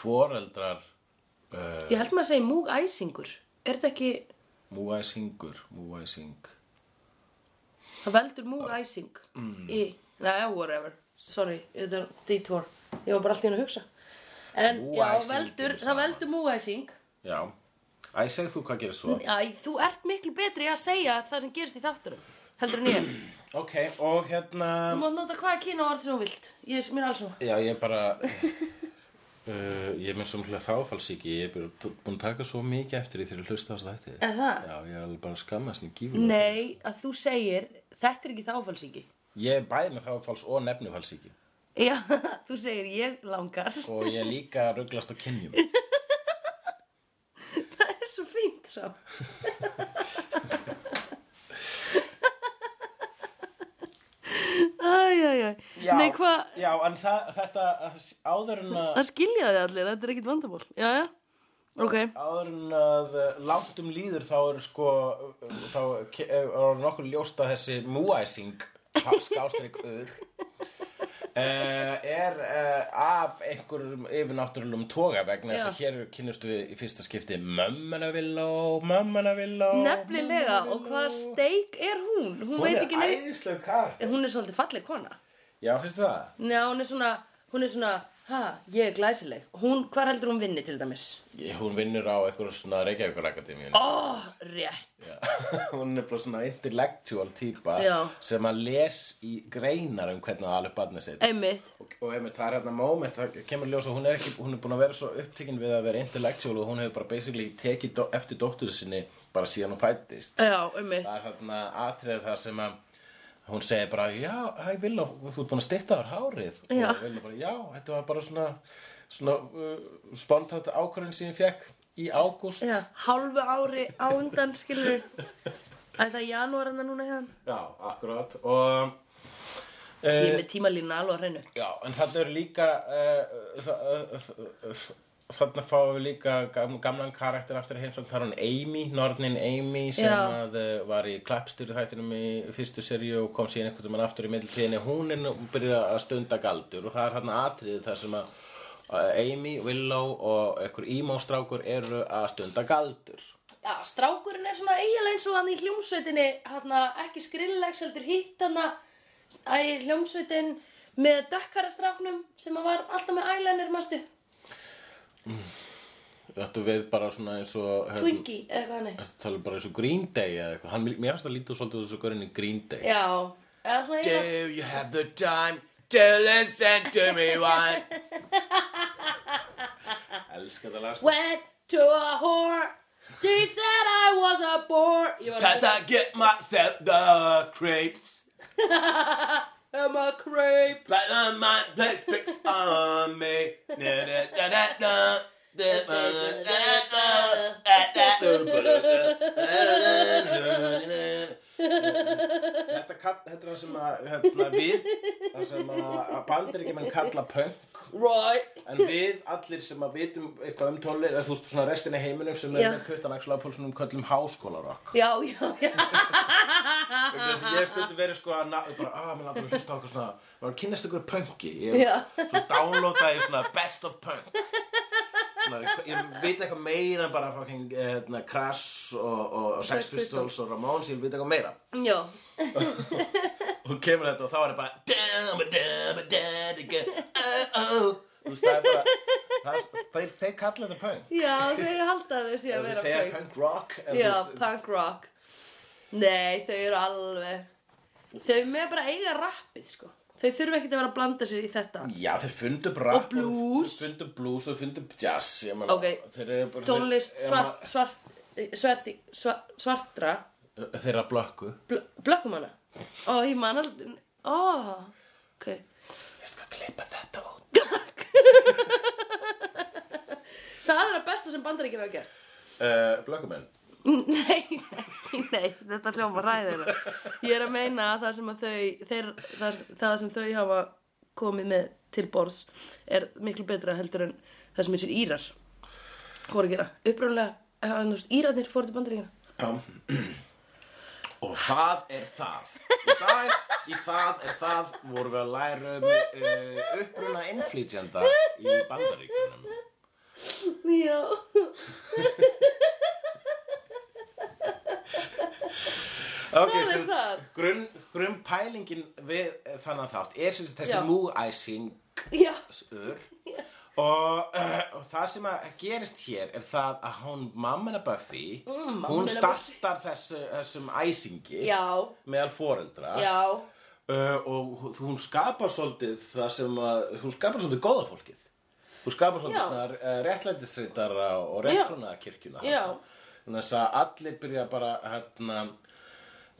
S3: foreldrar uh,
S2: ég held maður að segja múgæsingur. Er þetta ekki,
S3: múesingur múesing
S2: það veldur múgæsing
S3: Mm.
S2: í, neða, whatever. Sorry, þetta er detour. Ég var bara alltaf inn að hugsa. En já,
S3: Múgæsing
S2: veldur,
S3: kemur
S2: það
S3: saman.
S2: veldur múgæsing.
S3: já, æ, segð þú hvað gerist svo
S2: Æ, þú ert miklu betri í að segja það sem gerist í þátturum. Heldur en ég.
S3: ok, og hérna
S2: Þú mátt nota hvaða kína orð sem þú vilt. Ég mér er alls nú.
S3: Já, ég bara uh, Ég er með svo mjög þáfalsíki Ég er bara t- búin að taka svo mikið eftir því þegar ég hlusta á þess að þætti
S2: Er það?
S3: Já, ég er alveg bara að skammast mér gífur
S2: Nei, að þú segir, þetta er ekki þáfalsíki.
S3: Ég er bæði með þáfals og nefnufalsíki
S2: Já, þú segir, ég langar.
S3: Og ég er líka að rugglast á kynjum
S2: Það er svo fínt svo. Æj, æj, æj.
S3: Já.
S2: Nei, hvað,
S3: Já, en það, þetta áður en að
S2: það skilja þið allir, þetta er ekkit vandamál. Já, já, ok.
S3: áður en að eh, langt um líður þá eru sko eh, þá ke- eh, er nokkuð ljóst að þessi múæsing skástrík öður er uh, af einhverjum yfirnáttúrulegum toga vegna þess að
S2: Já.
S3: hér kynnust við í fyrsta skipti mömmana villó, mömmana villó
S2: Nefnilega, og hvaða steik er hún? Hún,
S3: Hún
S2: veit
S3: er
S2: ekki neitt.
S3: æðisleg kart
S2: Hún er svolítið falleg kona.
S3: Já, finnst það?
S2: Já, hún er svona, hún er svona, ha, ég er glæsileg. Hún, hvar heldur hún vinni til dæmis?
S3: Ég- Hún vinnur á einhverjum svona Reykjavíkur akademíun
S2: Oh, rétt.
S3: hún er bara svona intellectual típa
S2: Já.
S3: sem að les í greinar um hvernig að alveg barnið sitt
S2: Einmitt.
S3: og, og einmitt það er hérna moment það kemur ljós og hún er ekki hún er búin að vera svo upptekinn við að vera intellectual og hún hefur bara basically tekið do, eftir dóttur sinni bara síðan hún fættist
S2: Já, einmitt.
S3: það er þarna atriðið þar sem að hún segir bara já, hæ Villó, þú ert búin að styrta þér hárið
S2: Já.
S3: og Villó bara já, þetta var bara svona svona uh, spontant ákvörðin sem ég fekk í ágúst
S2: Já, hálfu ári á undan, skilur. Æ, það er janúar en það núna hjá hann.
S3: já akkurat og
S2: Ég er
S3: eh,
S2: með tímalínu alveg að hreinu.
S3: Já, en þarna eru líka uh, uh, uh, uh, þarna fáum við líka gam, gamlan karakter aftur í heimsókn, það er hún Amy, nornin Amy sem
S2: Já.
S3: að, uh, var í klappstýri þættinum í fyrstu seríu og kom síðan einhvern veginn aftur í middeltíðinni, hún er nú byrjað að stunda galdur og það er þarna atriðið þar sem að uh, Amy, Willow og einhver emo-strákur eru að stunda galdur
S2: Já, strákurinn er svona eiginlega eins og hann í hljómsveitinni, hann ekki skrillegs heldur hitt hann í hljómsveitin með dökkara stráknum sem hann var alltaf með eyeliner, mástu,
S3: Þetta við bara svona eins og hérna,
S2: Twinkie eða hvað hann er.
S3: Ertu að tala um bara eins og Green Day eða eitthvað, hann, mér finnst að líta svolítið þessu görinn í Green Day
S2: Já, eða svona eiginlega.
S3: Do you have the time to listen to me whine? Elskar það lag sko.
S2: Went to a whore, she said I was a bore. Ég var
S3: Cause I get myself the creeps
S2: I'm a creep.
S3: But the mind plays tricks on me Da-da-da-da-da. Da-da-da-da-da. Þetta, kall, þetta er það sem að hérna, við, það sem að, að bandaríkjumenn kalla punk
S2: Right.
S3: En við allir sem að vitum eitthvað um tónlist, eða þú veist svona restin í heiminum sem er
S2: Já.
S3: með puttan Axel Apolsonum köllum háskólarokk.
S2: Já, já, já.
S3: Vegna þess að Ég hef stundu verið sko að, na- bara, að, mér langar að hlusta á okkur svona, maður kynnast ykkur punki. Ég
S2: Já.
S3: svo downloadaði svona best of punk. Svona, ég veit eitthvað meira en bara fucking hérna, Crash og, og, og Sex
S2: Sex Pistols.
S3: Pistols og Ramones, ég veit eitthvað meira.
S2: Já,
S3: Og kemur þetta og þá er það bara dama, dama, dama, dama, oh, oh. Þú veist, það er bara, það, þeir, þeir kalla þetta punk.
S2: já þau halda þau sé að
S3: Ef þið
S2: vera
S3: segja
S2: punk.
S3: punk rock en
S2: Já,
S3: þú veist,
S2: punk rock. Nei, þau eru alveg... Þau með bara eiga rappið, sko. Þau þurfa ekkert að vera að blanda sér í þetta.
S3: Já, þeir fundu brap
S2: Og blues.
S3: Þeir fundu blues og fundu jazz ég meina,
S2: Ok.
S3: Þeir eru bara
S2: Tónlist
S3: þeir-
S2: svart, svart, svart, svart, svartra,
S3: Ema- Þeirra blökku
S2: bl blökkum hana. Ó, ég man aldrei, ó, ok.
S3: Ég skal klippa þetta út
S2: Það er að besta sem bandaríkina hafa gert.
S3: uh, Blökkumenn
S2: Nei, ekki, nei, þetta hljóma ræðina. Ég er að meina að það sem að þau, þeir, það, það sem þau hafa komið með til borðs er miklu betra heldur en það sem þessir írar voru að gera. Uppröðanlega, írarnir fóru til bandaríkina.
S3: Já Og það er það Í dag, í það er það vorum við að læra um uh, uppruna innflytjanda í bandaríkunum
S2: Já.
S3: okay,
S2: Það er
S3: sem sagt,
S2: það.
S3: Grunn, grunn pælingin við eh, þannig þátt er sem sagt þessi
S2: Já.
S3: múæsing
S2: Já.
S3: ur og, uh, og það sem að gerist hér er það að hún mammina Buffy
S2: Mm, mamma
S3: hún
S2: hennar
S3: startar þessu, þessum æsingi
S2: Já.
S3: meðal foreldra
S2: Já.
S3: uh, og hún- hún skapar svolítið það sem að hún skapar svolítið góða fólkið hún skapar
S2: Já.
S3: svolítið svona uh, réttlætisreitara og réttrúna kirkjuna
S2: Já.
S3: þannig þess að allir byrja bara hérna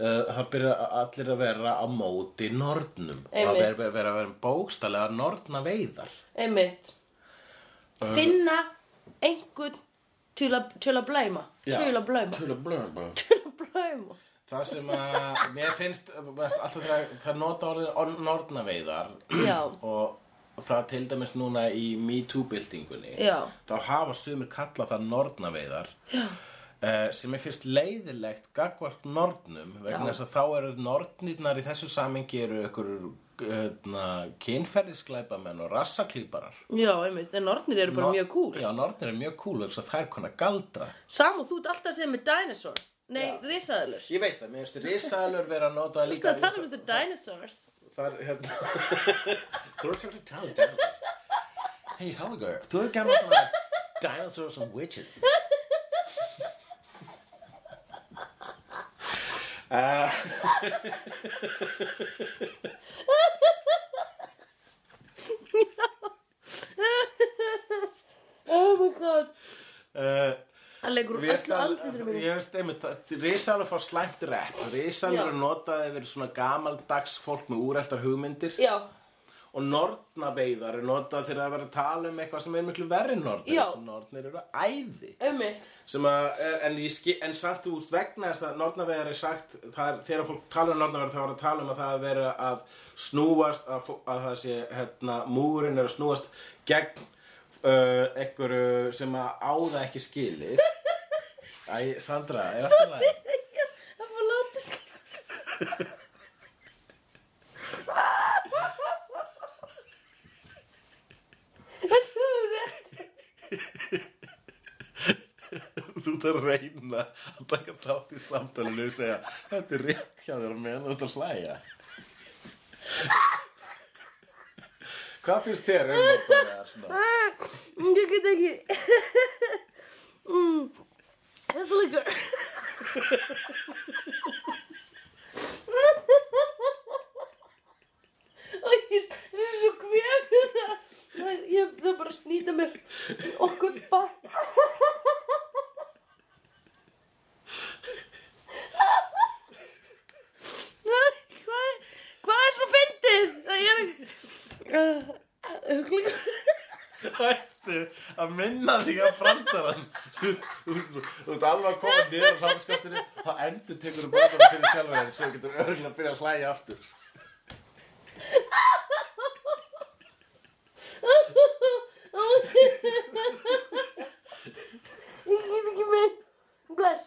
S3: Uh, það byrja allir að vera á móti nornum að
S2: Einmitt.
S3: vera, vera, vera bókstallega norna veiðar
S2: Einmitt. Finna einhvern til að, til að blæma. Til að blæma.
S3: Tula blöma
S2: Til að blæma.
S3: Það sem að mér finnst veist, alltaf þegar það nota orðið nornaveiðar
S2: Já.
S3: og og það til dæmis núna í MeToo-byltingunni
S2: Já.
S3: þá hafa sumir kalla það nornaveiðar uh, sem er fyrst leiðilegt gagvart nornum vegna
S2: Já.
S3: þess að þá eru nornirnar í þessu samengi eru ykkur kynferðisglæpamenn og rassaklíparar
S2: Já, einmitt. En orðnir eru bara mjög cool.
S3: Já, nornir eru mjög kúl vegna þess að það er konar galdra
S2: Sam og þú ert alltaf að segja með dinosaur Nei,
S3: Já.
S2: risaðalur
S3: Ég veit það, mér finnst risalur vera að nota líka
S2: Það tala um þessi dinosaurs
S3: Það er hérna Þú ert svolítið talað dinosaur Hey Holger, þú er gammal svona Dinosaurs and Witches uh,
S2: Oh my god
S3: uh,
S2: Það leikur úr
S3: Mér finnst
S2: öllu
S3: að-
S2: andlitinu mínu
S3: ég veist einmitt Risalur fór slæmt rep Risalur
S2: Já.
S3: er notað yfir svona gamaldags fólk með úreltar hugmyndir
S2: Já,
S3: og nornaveiðar er notað þegar að vera að tala um eitthvað sem er miklu verri nornir
S2: Já.
S3: sem nornir eru æði
S2: einmitt
S3: sem að, er- en, ég ski, en samt þú veist vegna þess að nornavegar er sagt það er, þegar fólk tala um nornavegar þá er að tala um að það er verið að snúast að, fó- að það sé, hérna, múrin er að snúast gegn uh, einhverju sem að áða ekki skilið Æ, Sandra, er alltaf læg?
S2: Það var látið Þetta er rétt
S3: Þú ert að reyna að taka þátt í samtalinu og segja Þetta er rétt hjá þér meðan þú ert að hlæja Hvað finnst þér um þetta? eða svona?
S2: Ah, Ég get ekki Mm. Þetta leikur Og ég ég er svo kvefið það það- Ég það bara snýta mér og guppa Ah, Hvað er- hvað er svo fyndið? Það ég er uh, Huglingur
S3: Hættu að minna þig að brandarann Þú þú- þú- þú ert alveg að koma niður á samskastinu þá endur tekur þú brandarann fyrir sjálfur þér svo þú getur örgulega að byrja að hlæja aftur
S2: Ég get ekki meir Bless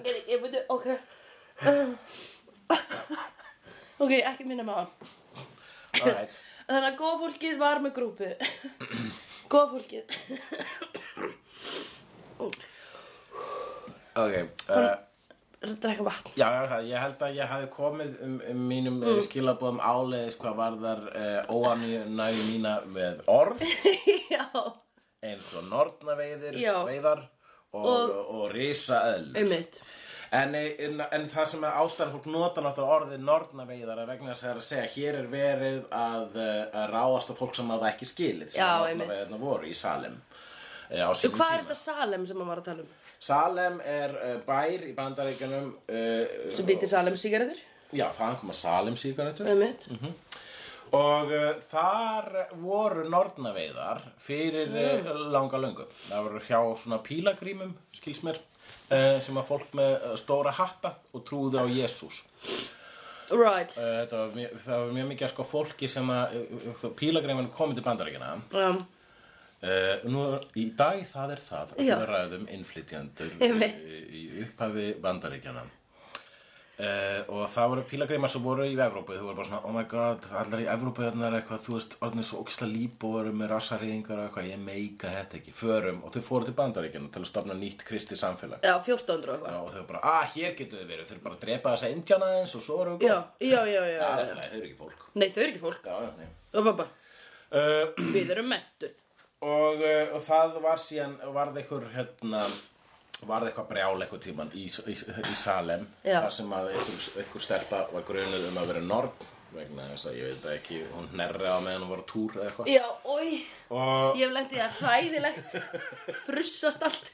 S2: Ég get ekki, ég byrju, ok Ok, ekki minna með hann
S3: Alright.
S2: Þannig að góða fólkið var með grúpu Góða fólkið
S3: Ok, uh,
S2: Er að drekka vatn
S3: Já, já, það, ég held að ég hafi komið um, um mínum mm. skilabóðum áleiðis hvað varðar uh, óanægu mína með orð
S2: Já
S3: eins og nornaveiðir,
S2: Já.
S3: veiðar og, og,
S2: Og-
S3: og risaöðl.
S2: Einmitt
S3: en, eh, en, en það sem er ástæðan fólk nota náttúrulega orðið nornaveiðara vegna þess að það er að segja hér er verið að, eh, að ráðast á fólk sem að það ekki skilið sem
S2: Já,
S3: að
S2: einmitt.
S3: nornaveiðarna voru í Salem eh, á
S2: Og
S3: sínum
S2: hvað er
S3: tíma.
S2: þetta Salem sem hann var að tala um?
S3: Salem er uh, bær í bandaríkjunum uh,
S2: Sem býtir Salem sigaræður?
S3: já þaðan koma Salem sígarættur
S2: Um mitt?
S3: Og uh, þar voru nornaveiðar fyrir mm. langa löngu. Það voru hjá svona pílagrímum, skils mér, uh, sem að fólk með eh, stóra hatta og trúðu á Jésús.
S2: Right.
S3: Uh, þetta var mjög, það var mjög mikið af sko fólki sem að uh, pílagríminu komið til bandaríkina.
S2: Um,
S3: Uh, nú, í dag það er það sem
S2: Já.
S3: við ræðum innflytjandur í,
S2: Einmitt.
S3: í upphafi bandaríkjana uh, og það voru pílagreimar sem voru í Evrópu þú voru bara svona, oh my god, allar í Evrópu þarna er eitthvað, þú veist, orðin er svo óksla líbóru með rassarýðingar og eitthvað, ég meika þetta ekki förum og þau fóru til bandaríkjana til að stofna nýtt kristi samfélag
S2: já, 1400 og
S3: Já,
S2: eitthvað.
S3: og þau voru bara, ah, hér getur þau verið þau eru bara að drepa þessa indjana eins og svo eru
S2: Já, já, já, já.
S3: það
S2: já.
S3: er svona, þau eru ekki fólk
S2: Nei, þau eru ekki fólk.
S3: Já, já, nei
S2: Og bara,
S3: uh,
S2: við erum mentuð.
S3: og, eh, og það var síðan varð einhver hérna varð eitthvað brjál eitthvað tíman í, í, í Salem
S2: Já.
S3: þar sem að einhver, einhver stelpa var grunuð um að vera norn vegna þess að ég veit það ekki hún hnerra á meðan hún var á túr eða eitthvað
S2: Já, oi,
S3: og
S2: ég hef lendið það hræðilegt. Frussast allt.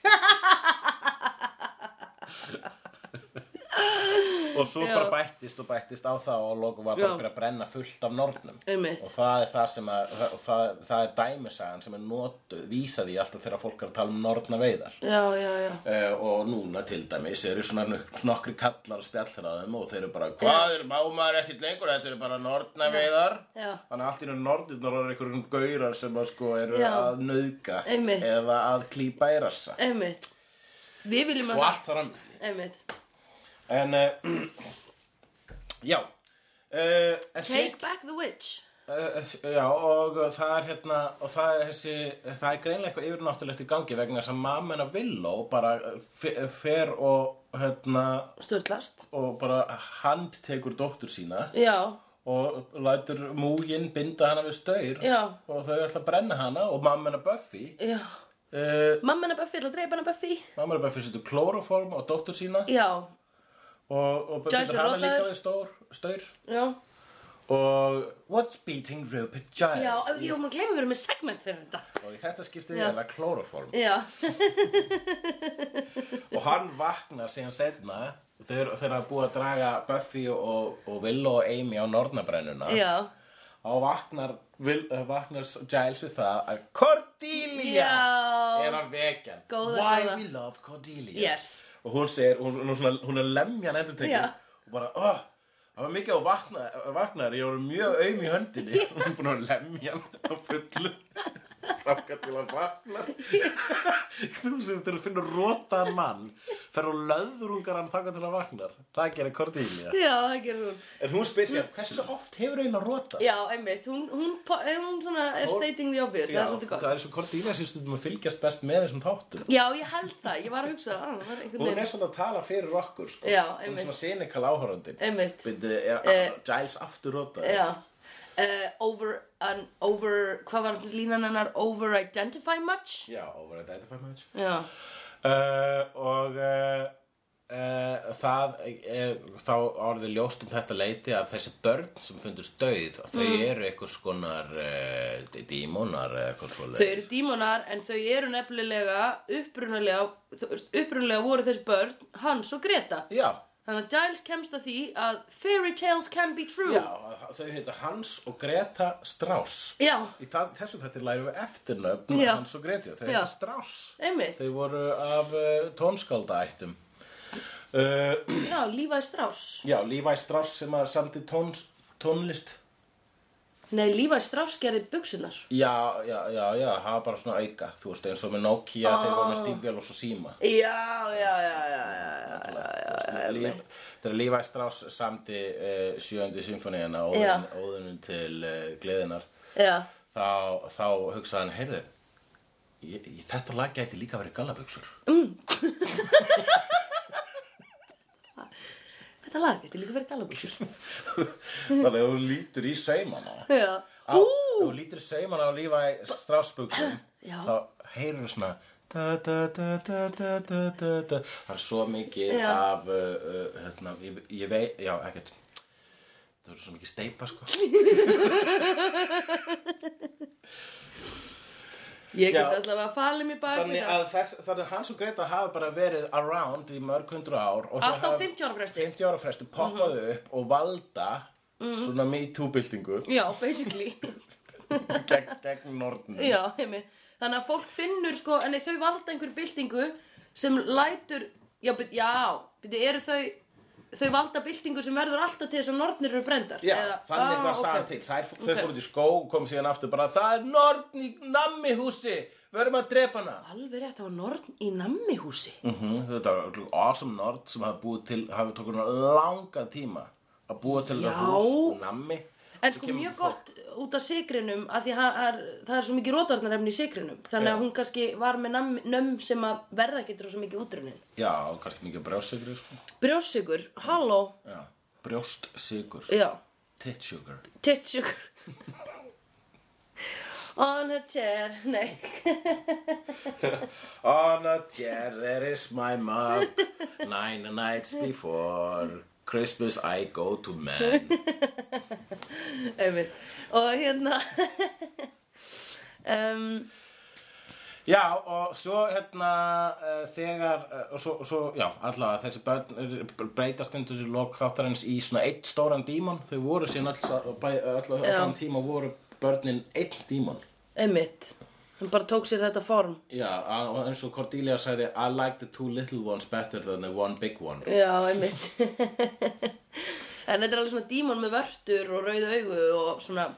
S3: og svo
S2: Já.
S3: bara bættist og bættist á það og lokum var bara
S2: Já.
S3: að byrja að brenna fullt af nornum
S2: Einmitt.
S3: og það er það sem að það, það, það er dæmisagan sem er notuð vísað í alltaf þegar fólk er að tala um norna veiðar
S2: Já, já, já.
S3: Uh, og núna til dæmis eru svona nok- nokkri kallar að spjallra þeim og þeir eru bara hvað er, má maður ekkert lengur, þetta eru bara nornaveiðar
S2: Já.
S3: þannig að allt í einu nornirnar eru einhverjum gaurar sem að sko eru
S2: Já.
S3: að nauðga
S2: Einmitt.
S3: eða að klípa í rassa
S2: Einmitt. Við viljum að...
S3: og allt þar á milli
S2: Einmitt.
S3: en uh, já uh, en
S2: Take back the witch.
S3: Uh, já, og það er hérna og það er, þessi, það er greinlega eitthvað yfirnáttúrulegt í gangi vegna þess að mamma hennar Villó bara eh, fe- fer og hérna
S2: Sturlast.
S3: og bara handtekur dóttur sína
S2: Já,
S3: og lætur múginn binda hana við staur
S2: já,
S3: og þau ætla að brenna hana og mamma hennar Buffy
S2: já.
S3: uh,
S2: Mamma hennar Buffy, ætla að dreipa hennar Buffy.
S3: mamma hennar Buffy setur klóroform á dóttur sína
S2: Já,
S3: og, og
S2: Giles
S3: bindur
S2: er
S3: hana
S2: rotaður.
S3: líka við stór, staur
S2: já.
S3: og what's beating Rupert Giles
S2: Já, jú, maður glemur verið með segment fyrir þetta.
S3: og í þetta skipti
S2: Já.
S3: er það klóroform
S2: Já,
S3: og hann vaknar síðan setna þegar þegar að búa að draga Buffy og, og Willow og Amy á nornabrennuna
S2: já.
S3: og vaknar, vil, eh, vaknar Giles við það að Cordelia
S2: Já.
S3: er hann vegan
S2: Góða,
S3: Why
S2: góða.
S3: we love Cordelia
S2: Yes.
S3: og hún segir, hún, hún, er svona, hún er lemjan endur tekið
S2: Já.
S3: og bara, oh, það var mikið á vakna, vaknar ég var mjög aum í höndinni hún er búin að lemja hann á fullu Ráka til að vakna Þú sem til að finna rótaðan mann Fer og löðrungar hann þangað til að vaknar Það gerir Cordelia
S2: Já, það gerir hún.
S3: En hún spyr sér, hversu oft hefur eiginlega rótast?
S2: Já, einmitt. Hún, hún, po- eh, hún svona er
S3: Hún-
S2: stating the obvious. það er svolítið gott.
S3: það er svo Cordelia sem stundum að fylgjast best með þessum þáttum
S2: Já, ég held það. Ég var að hugsa, að það var einhvern
S3: Hún
S2: veginn.
S3: er svolítið að tala fyrir okkur sko.
S2: Já,
S3: Hún
S2: einmitt.
S3: er svona sinikal áhörandin
S2: Einmitt.
S3: Bindu, er
S2: Eh,
S3: Giles aftur rótað
S2: Já. Uh, over, an, over, hvað var línan hennar? Over identify much?
S3: Já, og verið að þetta fæði maður
S2: Já.
S3: uh, og uh, uh, það er, þá orðið ljóst um þetta leiti að þessi börn sem fundust dauð að þau
S2: Mm.
S3: eru einhvers konar uh, dímonar eða eitthvað svo
S2: Þau eru dímonar en þau eru nefnilega upprunalega, þú veist, upprunalega voru þessi börn Hans og Greta.
S3: Já,
S2: Þannig að Giles kemst að því að fairy tales can be true.
S3: já, þau heita Hans og Greta Strauss
S2: Já,
S3: Í það, þessum þetta lærum við eftirnöfn
S2: Já.
S3: Hans og Greta, þau
S2: Já.
S3: heita Strauss
S2: einmitt.
S3: Þau voru af uh, tónskáldaættum uh,
S2: Já, Levi Strauss.
S3: Já, Levi Strauss sem að samti tóns, tónlist
S2: Nei, Levi Strauss gerði buksunar.
S3: Já, já, já, já, það var bara svona auka, þú veist, eins og með Nokia þegar voru
S2: Ah.
S3: með stífjöl og svo síma.
S2: Já, já, já, já, já, já, já, já, já.
S3: Þegar Levi Strauss samti uh, sjöndi symfóníana
S2: Já.
S3: óðun, óðunum til uh, gleðinar,
S2: Já,
S3: þá, þá hugsaði hann, heyrðu, ég, ég, þetta lag gæti líka verið gallabuxur.
S2: þetta lag getur líka verið galabúsur.
S3: Þannig að þú lítur í saumana.
S2: Já.
S3: Á, þú lítur í saumana á Levi Strauss buxum,
S2: Já.
S3: þá heyrðu svona da, da, da, da, da, da, da, da. Það er svo mikið
S2: Já.
S3: af uh, uh, hérna, ég, ég veit, já, ekkert Það eru svo mikið steipa, sko
S2: Ég get
S3: Já.
S2: allavega að fala mig bak við
S3: Þannig
S2: það
S3: að þess, þannig að hans og Greta hafa bara verið around í mörg hundru ár og þau
S2: Allt á
S3: hafa
S2: 50 ára fresti Mhm.
S3: 50 ára fresti poppaðu upp og valda svona MeToo-byltingu
S2: Já, basically
S3: gegn, gegn nornum
S2: Já, heimi Þannig að fólk finnur sko En þau valda einhver byltingu sem lætur Já, byrju, já, byrju, eru þau Þau valda byltingu sem verður alltaf til þess að nornir eru brendar
S3: Já, þannig
S2: ah,
S3: var
S2: ok.
S3: sagan til Þær, Þau
S2: Ok.
S3: fóru út í skó og kom síðan aftur bara Það er norn í nammi húsi Verum að drepa hana
S2: Alveg rétt, það var norn í nammihúsi
S3: mm Þetta var örugglega awesome norn sem hafi búið til hafi tók hana langa tíma að búa til
S2: Já.
S3: það hús nammi
S2: En
S3: Svo
S2: sko
S3: kemur
S2: mjög
S3: fólk-
S2: gott út af sigrinum að því hann, er, það er svo mikið rótvarnarefni í sigrinum þannig
S3: Já.
S2: að hún kannski var með nam, nömm sem að verða getur svo mikið útrunin
S3: Já, og kannski mikið brjóstsykur sko.
S2: Brjósigur, halló,
S3: Já, brjóstsykur
S2: já,
S3: Tit sugar
S2: titsugur On a chair, nei
S3: On a chair there is my mug Nine nights before Christmas I go to man
S2: einmitt Og hérna um,
S3: Já, og svo hérna uh, þegar, uh, og svo, svo já, allavega þessi börn eru- breytast undir í lok þáttarins í svona eitt stóran dímon, þau voru síðan alls, alls, eh, allan tíma voru börnin einn dímon.
S2: Einmitt, hann bara tók sér þetta form
S3: Já, a- og eins og Cordelia sagði, I like the two little ones better than the one big one.
S2: Já, einmitt En þetta er alveg svona dímon með vörtur og rauð augu og svona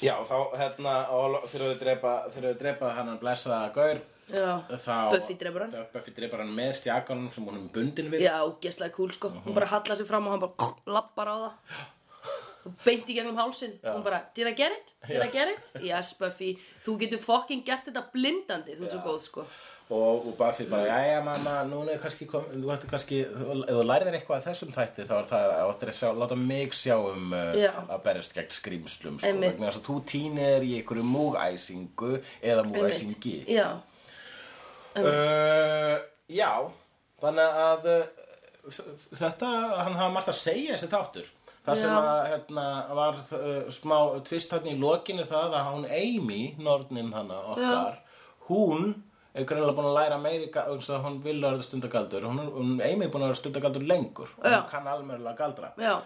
S3: Já, og þá hérna, og lo- þegar þau drepa, þegar þau drepa hennan blessaða gaur,
S2: Já,
S3: þá...
S2: Buffy drepur hann.
S3: Buffy drepar hann með stjakanum sem hún er bundin við.
S2: Já, ógeðslega cool sko Hún bara hallar sér fram og hann bara lappar á það Og beint í gegnum hálsin Hún bara, did I get it? Did I get it? Yes, Buffy, þú getur fucking gert þetta blindandi Þú ert svo góð sko
S3: og, og Buffy bara, jæja mamma, núna er kannski kom, þú ættir kannski, ef þú lærir eitthvað af þessum þætti þá er það að áttir að sjá, láta mig sjá um
S2: Já.
S3: uh, að berjast gegn skrýmslum sko,
S2: Einmitt.
S3: vegna þess að þú týnir í einhverju múgæsingu eða múgæsingi
S2: Já,
S3: uh, Já, þannig að uh, þetta, hann hafa margt að segja þessi þáttur Það sem
S2: Já.
S3: að hérna, var uh, smá tvist hann í lokinu það að hún Amy, nornin hana okkar, hún er greinlega búin að læra meiri, ga- vegna þess að hún vil að vera stundagaldur, hún, er- hún Amy er búin að vera stundagaldur lengur og
S2: Já.
S3: hún kann almennilega galdra.
S2: já,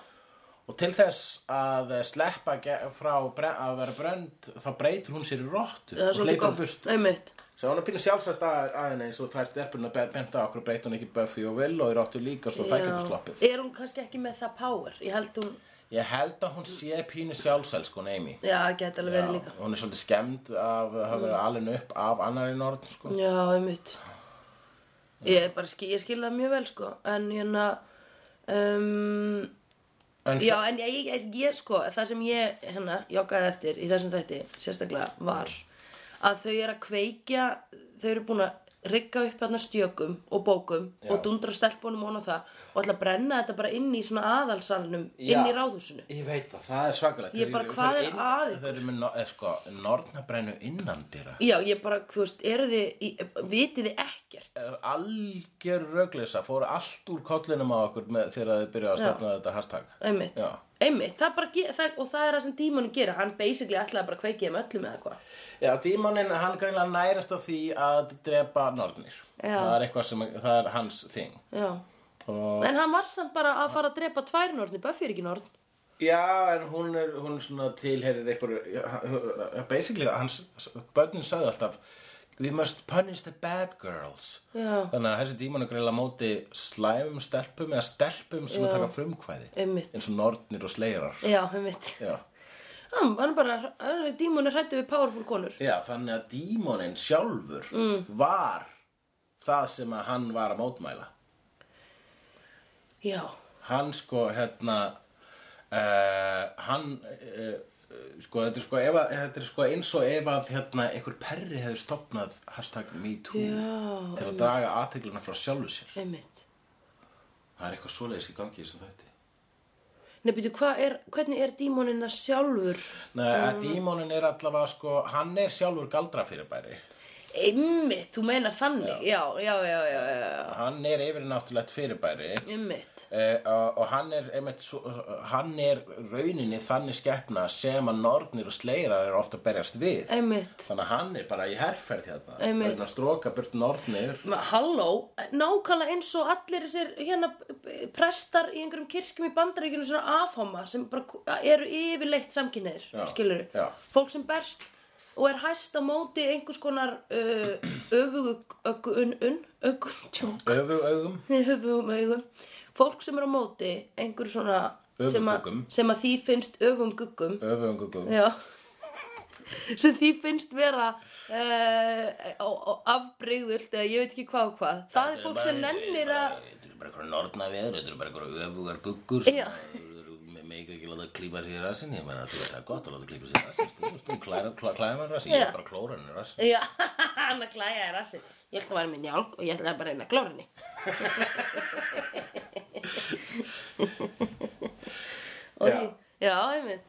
S3: Og til þess að sleppa ge- frá bre- að vera brönd, þá breytir hún sér í rottu
S2: það er
S3: og
S2: svolítið
S3: hleypur
S2: gott
S3: burt.
S2: Einmitt,
S3: Svo hún er pínu sjálfsagt að aðeins eins og þær stelpurinn að benda á okkur og breyta hún ekki Buffy og Will og í ráttu líka svo það getur sloppið.
S2: Er hún kannski ekki með það power? Ég held hún,
S3: Ég held að hún sé pínu sjálfsæl sko Amy.
S2: já, geti alveg verið líka Mm.
S3: hún er svolítið skemmt af að hafa verið alveg upp af annari norðn sko.
S2: Já, einmitt Ég, er bara, skil, ég skil það mjög vel sko En hérna um,
S3: En svo-
S2: Já, en ég, ég, ég, ég sko, það sem ég hérna, joggaði eftir í þessum þætti sérstaklega var að þau eru að kveikja, þau eru búin að rigga upp hérna stjökum og bókum
S3: Já.
S2: og dundra stelpunum ofan á það og ætla að brenna þetta bara inn í svona aðalsalnum,
S3: Já.
S2: inn í ráðhúsinu.
S3: Ég veit það, það er svakalegt.
S2: Ég bara,
S3: Þeir-
S2: hvað
S3: þeir
S2: er
S3: inn-
S2: að ykkur?
S3: Þeir eru með no, eh, sko, nornabrennu innan dýra.
S2: Já, ég bara, þú veist, eru þið, í- vitið þið ekkert?
S3: Algjör röglisa, fóru allt úr kollinum á okkur með, þegar þið byrjuðu að stefna þetta hashtag.
S2: Einmitt,
S3: Já.
S2: einmitt, það bara, ge- það, og það er það sem dímanu gera, hann basically ætlaði bara að kveikja um öllum eða hvað.
S3: Já, dímoninn, hann greinlega nærast á því að drepa nornir.
S2: Já.
S3: Það er eitthvað sem, það er hans þing.
S2: Já,
S3: Og,
S2: en hann var samt bara að fara að drepa tvær norni, Buffy er ekki norn.
S3: já, en hún er, hún er svona tilherir eitthvað, basically, hans, börnin sagði alltaf, we must punish the bad girls.
S2: Já.
S3: Þannig að þessi dímon er greinlega á móti slæmum stelpum eða stelpum sem að taka frumkvæði.
S2: Einmitt.
S3: Eins og nornir og sleirar.
S2: Já, einmitt.
S3: Já.
S2: Hann, hann bara, dímon er hrættu við powerful konur.
S3: Já, þannig að dímoninn sjálfur
S2: Mm.
S3: var það sem að hann var að mótmæla.
S2: Já,
S3: hann sko hérna uh, hann uh, sko þetta er sko, ef, að- þetta er sko eins og ef að hérna einhver perri hefur stopnað hashtag MeToo
S2: Já,
S3: til að draga aðtegluna frá sjálfu sér
S2: einmitt.
S3: það er eitthvað svoleiðis í gangi í þessum þætti
S2: Nei, byrju, hvað er, hvernig er dímonin það sjálfur?
S3: Nei, að dímonin er allavega sko hann er sjálfur galdra fyrirbæri
S2: Einmitt, þú meina þannig, já, já, já, já, já, já.
S3: Hann er yfir náttúrulegt fyrirbæri
S2: einmitt.
S3: Uh, og og hann er, einmitt, svo- hann er rauninni þannig skeppna sem að nornir og sleirar er ofta að berjast við
S2: Einmitt.
S3: þannig að hann er bara í herferð hérna
S2: Einmitt.
S3: vegna að stróka burt nornir
S2: Ma- Halló, nákvæmlega eins og allir þessir hérna p- prestar í einhverjum kirkjum í bandaríkjunum svona afhóma sem bara ku- eru yfirleitt samkynneir,
S3: Já,
S2: skilur
S3: já.
S2: Fólk sem berst og er hæst á móti einhvers konar uh, öfugu, ögun, un, ögun, tjó,
S3: öfu augum
S2: öfugum augum fólk sem er á móti einhver svona sem að,
S3: Öfuguggum.
S2: sem að því finnst öfum guggum
S3: öfu augum
S2: já sem því finnst vera uh, afbrigðult eða ég veit ekki hvað og hvað það er fólk sem nennir að
S3: þetta eru bara einhverja norna veður þetta eru bara einhverja öfugar guggur
S2: Já.
S3: með ekki láta klípa sér í rassin ég meina þú veist það er gott að láta klípa sér í rassin stundum stundum klæra- klá- klæða mann rassin ég
S2: Já.
S3: er bara klóra hann í rassin
S2: já, hann að klæja er rassin ég ætla að vera með njálg og ég ætla að bara að reyna að glóra henni og
S3: Já.
S2: ég, já, einmitt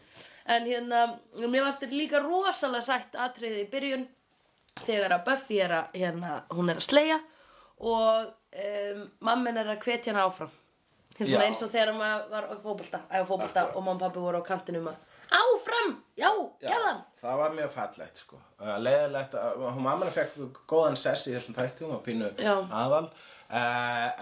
S2: en hérna, mér varst þér líka rosalega sætt atriði í byrjun þegar að Buffy er að hérna, hún er að sleia og um, mammin er að hvetja hana áfram Þeim svona
S3: Já.
S2: eins og þegar maður var á fótbolta, á fótbolta
S3: Akkurat.
S2: og mamma og pappi voru á kantinum að áfram, já, já. gefðan
S3: það var mjög fallegt sko uh, leiðilegt, að- hún mamma fekk góðan sess í þessum tætti, hún var pínu
S2: Já.
S3: aðal uh,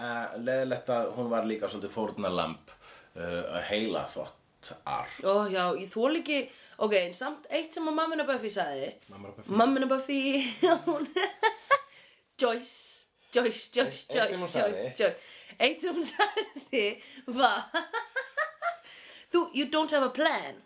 S3: uh, leiðilegt að hún var líka svolítið fórnalamb uh, heila þvott ar
S2: Ó, já, ég þól ekki Ok, en samt eitt sem að mammina Buffy sagði
S3: Mamma er bara fyrir-
S2: Mammina Buffy hún, Joyce Joyce, Joyce,
S3: Eitt
S2: Joyce,
S3: sem hún
S2: Joyce,
S3: sagði.
S2: Joyce Eitt sem hún sagði var Þú, you don't have a plan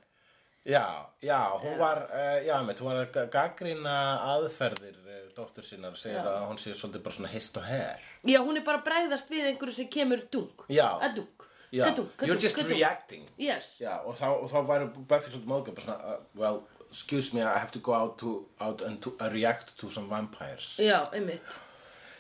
S3: Já, já, hún var, uh, já, mitt, hún var að ga- gagnrýna aðferðir uh, dóttur sínar og segir að hún sé svolítið bara svona hist og her.
S2: Já, hún er bara að bregðast við einhverju sem kemur dung
S3: Já.
S2: Að dung
S3: Já,
S2: Kadung, kadung,
S3: you're just
S2: kadung.
S3: reacting.
S2: Yes
S3: Já, og þá, og þá væri Buffy svolítið móðgjöf, bara svona, uh, well, excuse me, I have to go out, to, out and to, uh, react to some vampires.
S2: Já, einmitt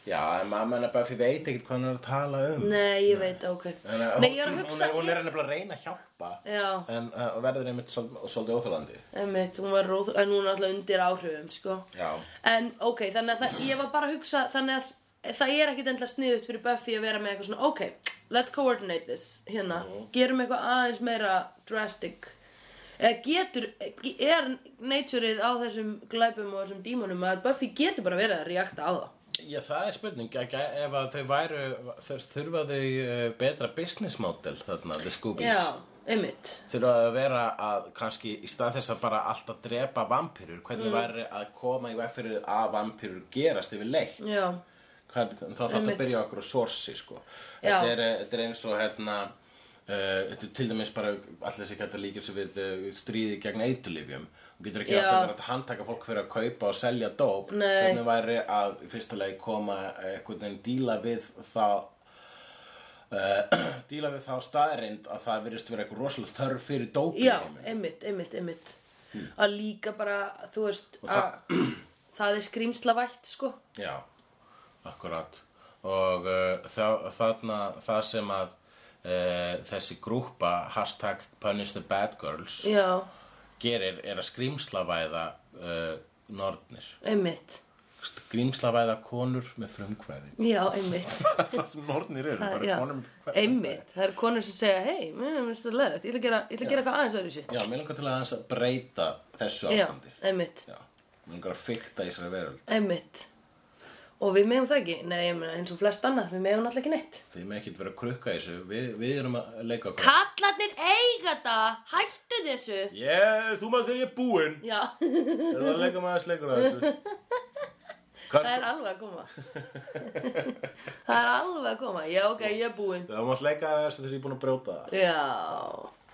S3: Já, en mamma hennar Buffy veit ekkert hvað hún er að tala um.
S2: Nei, ég veit, ok
S3: Þannig að
S2: Nei, ég er að hugsa
S3: Hún er, hún er nefnilega að reyna að hjálpa,
S2: Já.
S3: en uh, verður einmitt svol- svolítið óþjólandi.
S2: Einmitt, hún var róð, en hún er alltaf undir áhrifum, sko.
S3: Já.
S2: En, ok, þannig að það, ég var bara að hugsa, þannig að það er ekkit endla sniðut fyrir Buffy að vera með eitthvað svona, ok, let's coordinate this, hérna, gerum eitthvað aðeins meira drastic. Eða getur, er natureið á þessum glæpum og þessum dímonum að Buffy getur bara verið að reakta á það.
S3: Já, það er spurning, ekki, ef að þau væru, þau þurfa þau eh, betra business model þarna, the Scoobies.
S2: Já, einmitt.
S3: Þurfa þau að vera að, kannski, í stað þess að bara alltaf drepa vampýrur,
S2: Mm.
S3: hvernig væri að koma í veg fyrir að vampýrur gerast yfir leitt?
S2: Já,
S3: Hvern, þá þarf þetta
S2: Einmitt.
S3: að byrja okkur á sorsi, sko.
S2: Já.
S3: Þetta er, eh, þetta er eins og, hérna, uh, þetta er til dæmis bara allir þessi gæta líkir sem við uh, stríði gegn eitulifjum. Þú getur ekki
S2: Já.
S3: alltaf verið að handtaka fólk fyrir að kaupa og selja dóp.
S2: Nei.
S3: Hvernig væri að í fyrsta lagi koma eh, einhvern veginn díla við þá uh, díla við þá staðarind að það virðist vera eitthvað rosalega þörf fyrir dópi
S2: já, einmitt, einmitt, einmitt. Að líka bara, þú veist,
S3: Og það-
S2: að það er skrýmslavætt, sko.
S3: Já, akkurat og uh, þá, þarna það sem að uh, þessi grúppa hashtag punish the bad girls
S2: Já,
S3: gerir er að skrýmslavæða uh, nornir
S2: einmitt.
S3: skrýmslavæða konur með frumkvæði
S2: Já, einmitt.
S3: það sem nornir eru,
S2: Það,
S3: bara
S2: já,
S3: konur með frumkvæði
S2: einmitt. Það eru konur sem segja, hei, mér finnst þetta leðið, ég ætla að gera, ég ætla að gera eitthvað aðeins öðru sér.
S3: Já, mér langar til að aðeins að breyta þessu
S2: Já,
S3: ástandi
S2: einmitt,
S3: Já, mér langar að fykta í þessari veröld
S2: einmitt. Og við meðum það ekki, nei, ég meina eins og flest annað, við meðum alltaf ekki neitt.
S3: Þið með ekkert vera að krukka í þessu, við, við erum að leika okkur
S2: Kallarnir eiga það, hættu þessu.
S3: Yeah, þú maður þegar ég er búinn
S2: Já,
S3: Er það að leika maður sleikur að þessu?
S2: það er
S3: Hvað,
S2: alveg að koma. það er alveg að koma, já, ok, ég er búinn.
S3: það má sleika að þessu þegar ég er búinn að brjóta það.
S2: Já,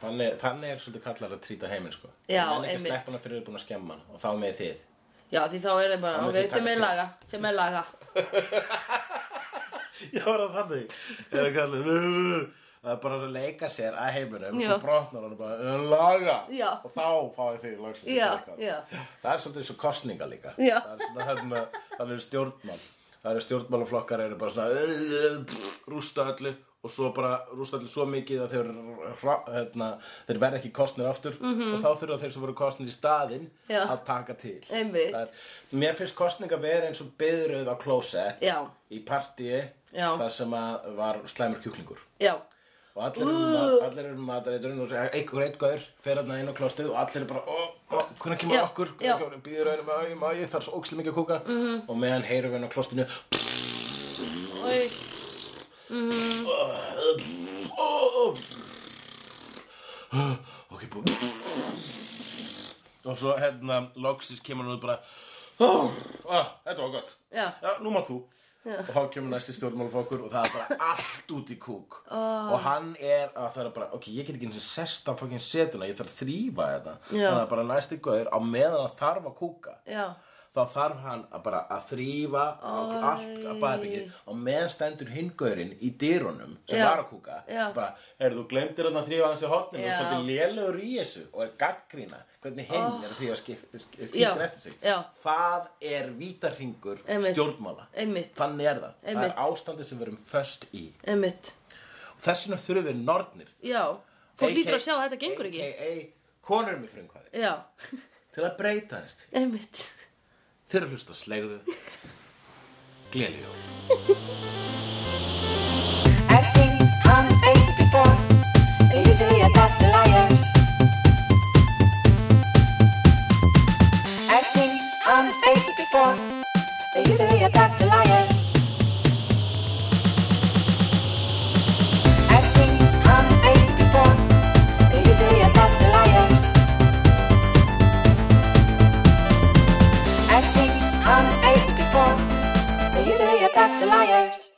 S3: Þannig, þannig er svolítið kallar að trýta heiminn, sko.
S2: Já,
S3: einmitt. En ekki
S2: einmitt.
S3: að sleppa hana fyrir að búin að skemma hana og þá með þið.
S2: já, því þá er það bara,
S3: Annars
S2: ok,
S3: ég taka
S2: þeim er
S3: til.
S2: laga, þeim er laga.
S3: Já, var það þannig. Það er kallar, það er bara að leika sér að heiminum og
S2: Já.
S3: svo brotnar hann bara, "En laga.
S2: Já.
S3: Og þá fáið þið loksins að
S2: Já,
S3: leika.
S2: já.
S3: Það er svolítið svo kostninga líka.
S2: Já.
S3: Það er svona, hérna, það er stjórnmál. Það eru stjórnmálaflokkar eru bara svona, "Ugh, pff, rústa öllu og svo bara rústa allir svo mikið að þeir, hra- hérna, þeir verða ekki kostnir aftur og þá þurfa þeir sem voru kostnir í staðinn
S2: Mhm. Já.
S3: að taka til
S2: Einmitt.
S3: Það er, Mér finnst kostninga vera eins og byðröð á klósett
S2: Já.
S3: í partíi
S2: Já.
S3: þar sem að var slæmur kjúklingur
S2: Já,
S3: og allir eru mat- allir eru matareiturinn og einhver einn gaur fer hérna inn á klostið og allir eru bara ó, ó, hvernig kemur
S2: Já,
S3: okkur,
S2: já. Mhm.
S3: hvernig kemur býður einu má ég, má ég, þar er svo ókslega mikið að kúka -hmm. og meðan heyrum við inn á klostinu
S2: Oj.
S3: ó, ó, ok, bú og svo hérna loksins kemur hann út bara ó, ó, þetta var gott
S2: Já.
S3: nú má þú
S2: Já.
S3: og þá kemur næsti stjórnmálfokkur og það er bara allt út í kúk oh. og hann er að það er bara ok, ég get ekki eins og sest á fokkin setuna ég þarf að þrýfa þetta
S2: Já.
S3: þannig að bara næsti gaur á meðan að þarf að kúka
S2: já,
S3: þá þarf hann að bara að þrýfa og allt að baðbyggið og meðan stendur hingaurinn í dyrunum sem
S2: Já.
S3: var að kúka
S2: Já.
S3: bara, er þú glemtir hann að þrýfa hans í hotninu
S2: Já.
S3: og svolítið lélegur í þessu og er gaggrína hvernig hinn er að þrýfa
S2: Oh. Já.
S3: skýttir eftir sig
S2: Já.
S3: það er vítarhingur
S2: Einmitt.
S3: stjórnmála
S2: Einmitt.
S3: þannig er það, það
S2: Einmitt.
S3: er ástandið sem við erum föst í
S2: einmitt
S3: og þess vegna þurfum við nornir
S2: Já, fólk
S3: AK
S2: lítur að sjá að þetta gengur ekki
S3: AKA konur með frumkvæði
S2: Já,
S3: til að breyta þess
S2: einmitt
S3: þeir eru að hlusta á slegðu gleljó
S4: I've seen honest faces before. They're usually a pass to liars. I've seen honest faces before. They're usually a pass to liars. I've seen honest faces before. They're usually a pass to liars. I've seen honest faces before. They're usually a pass to liars.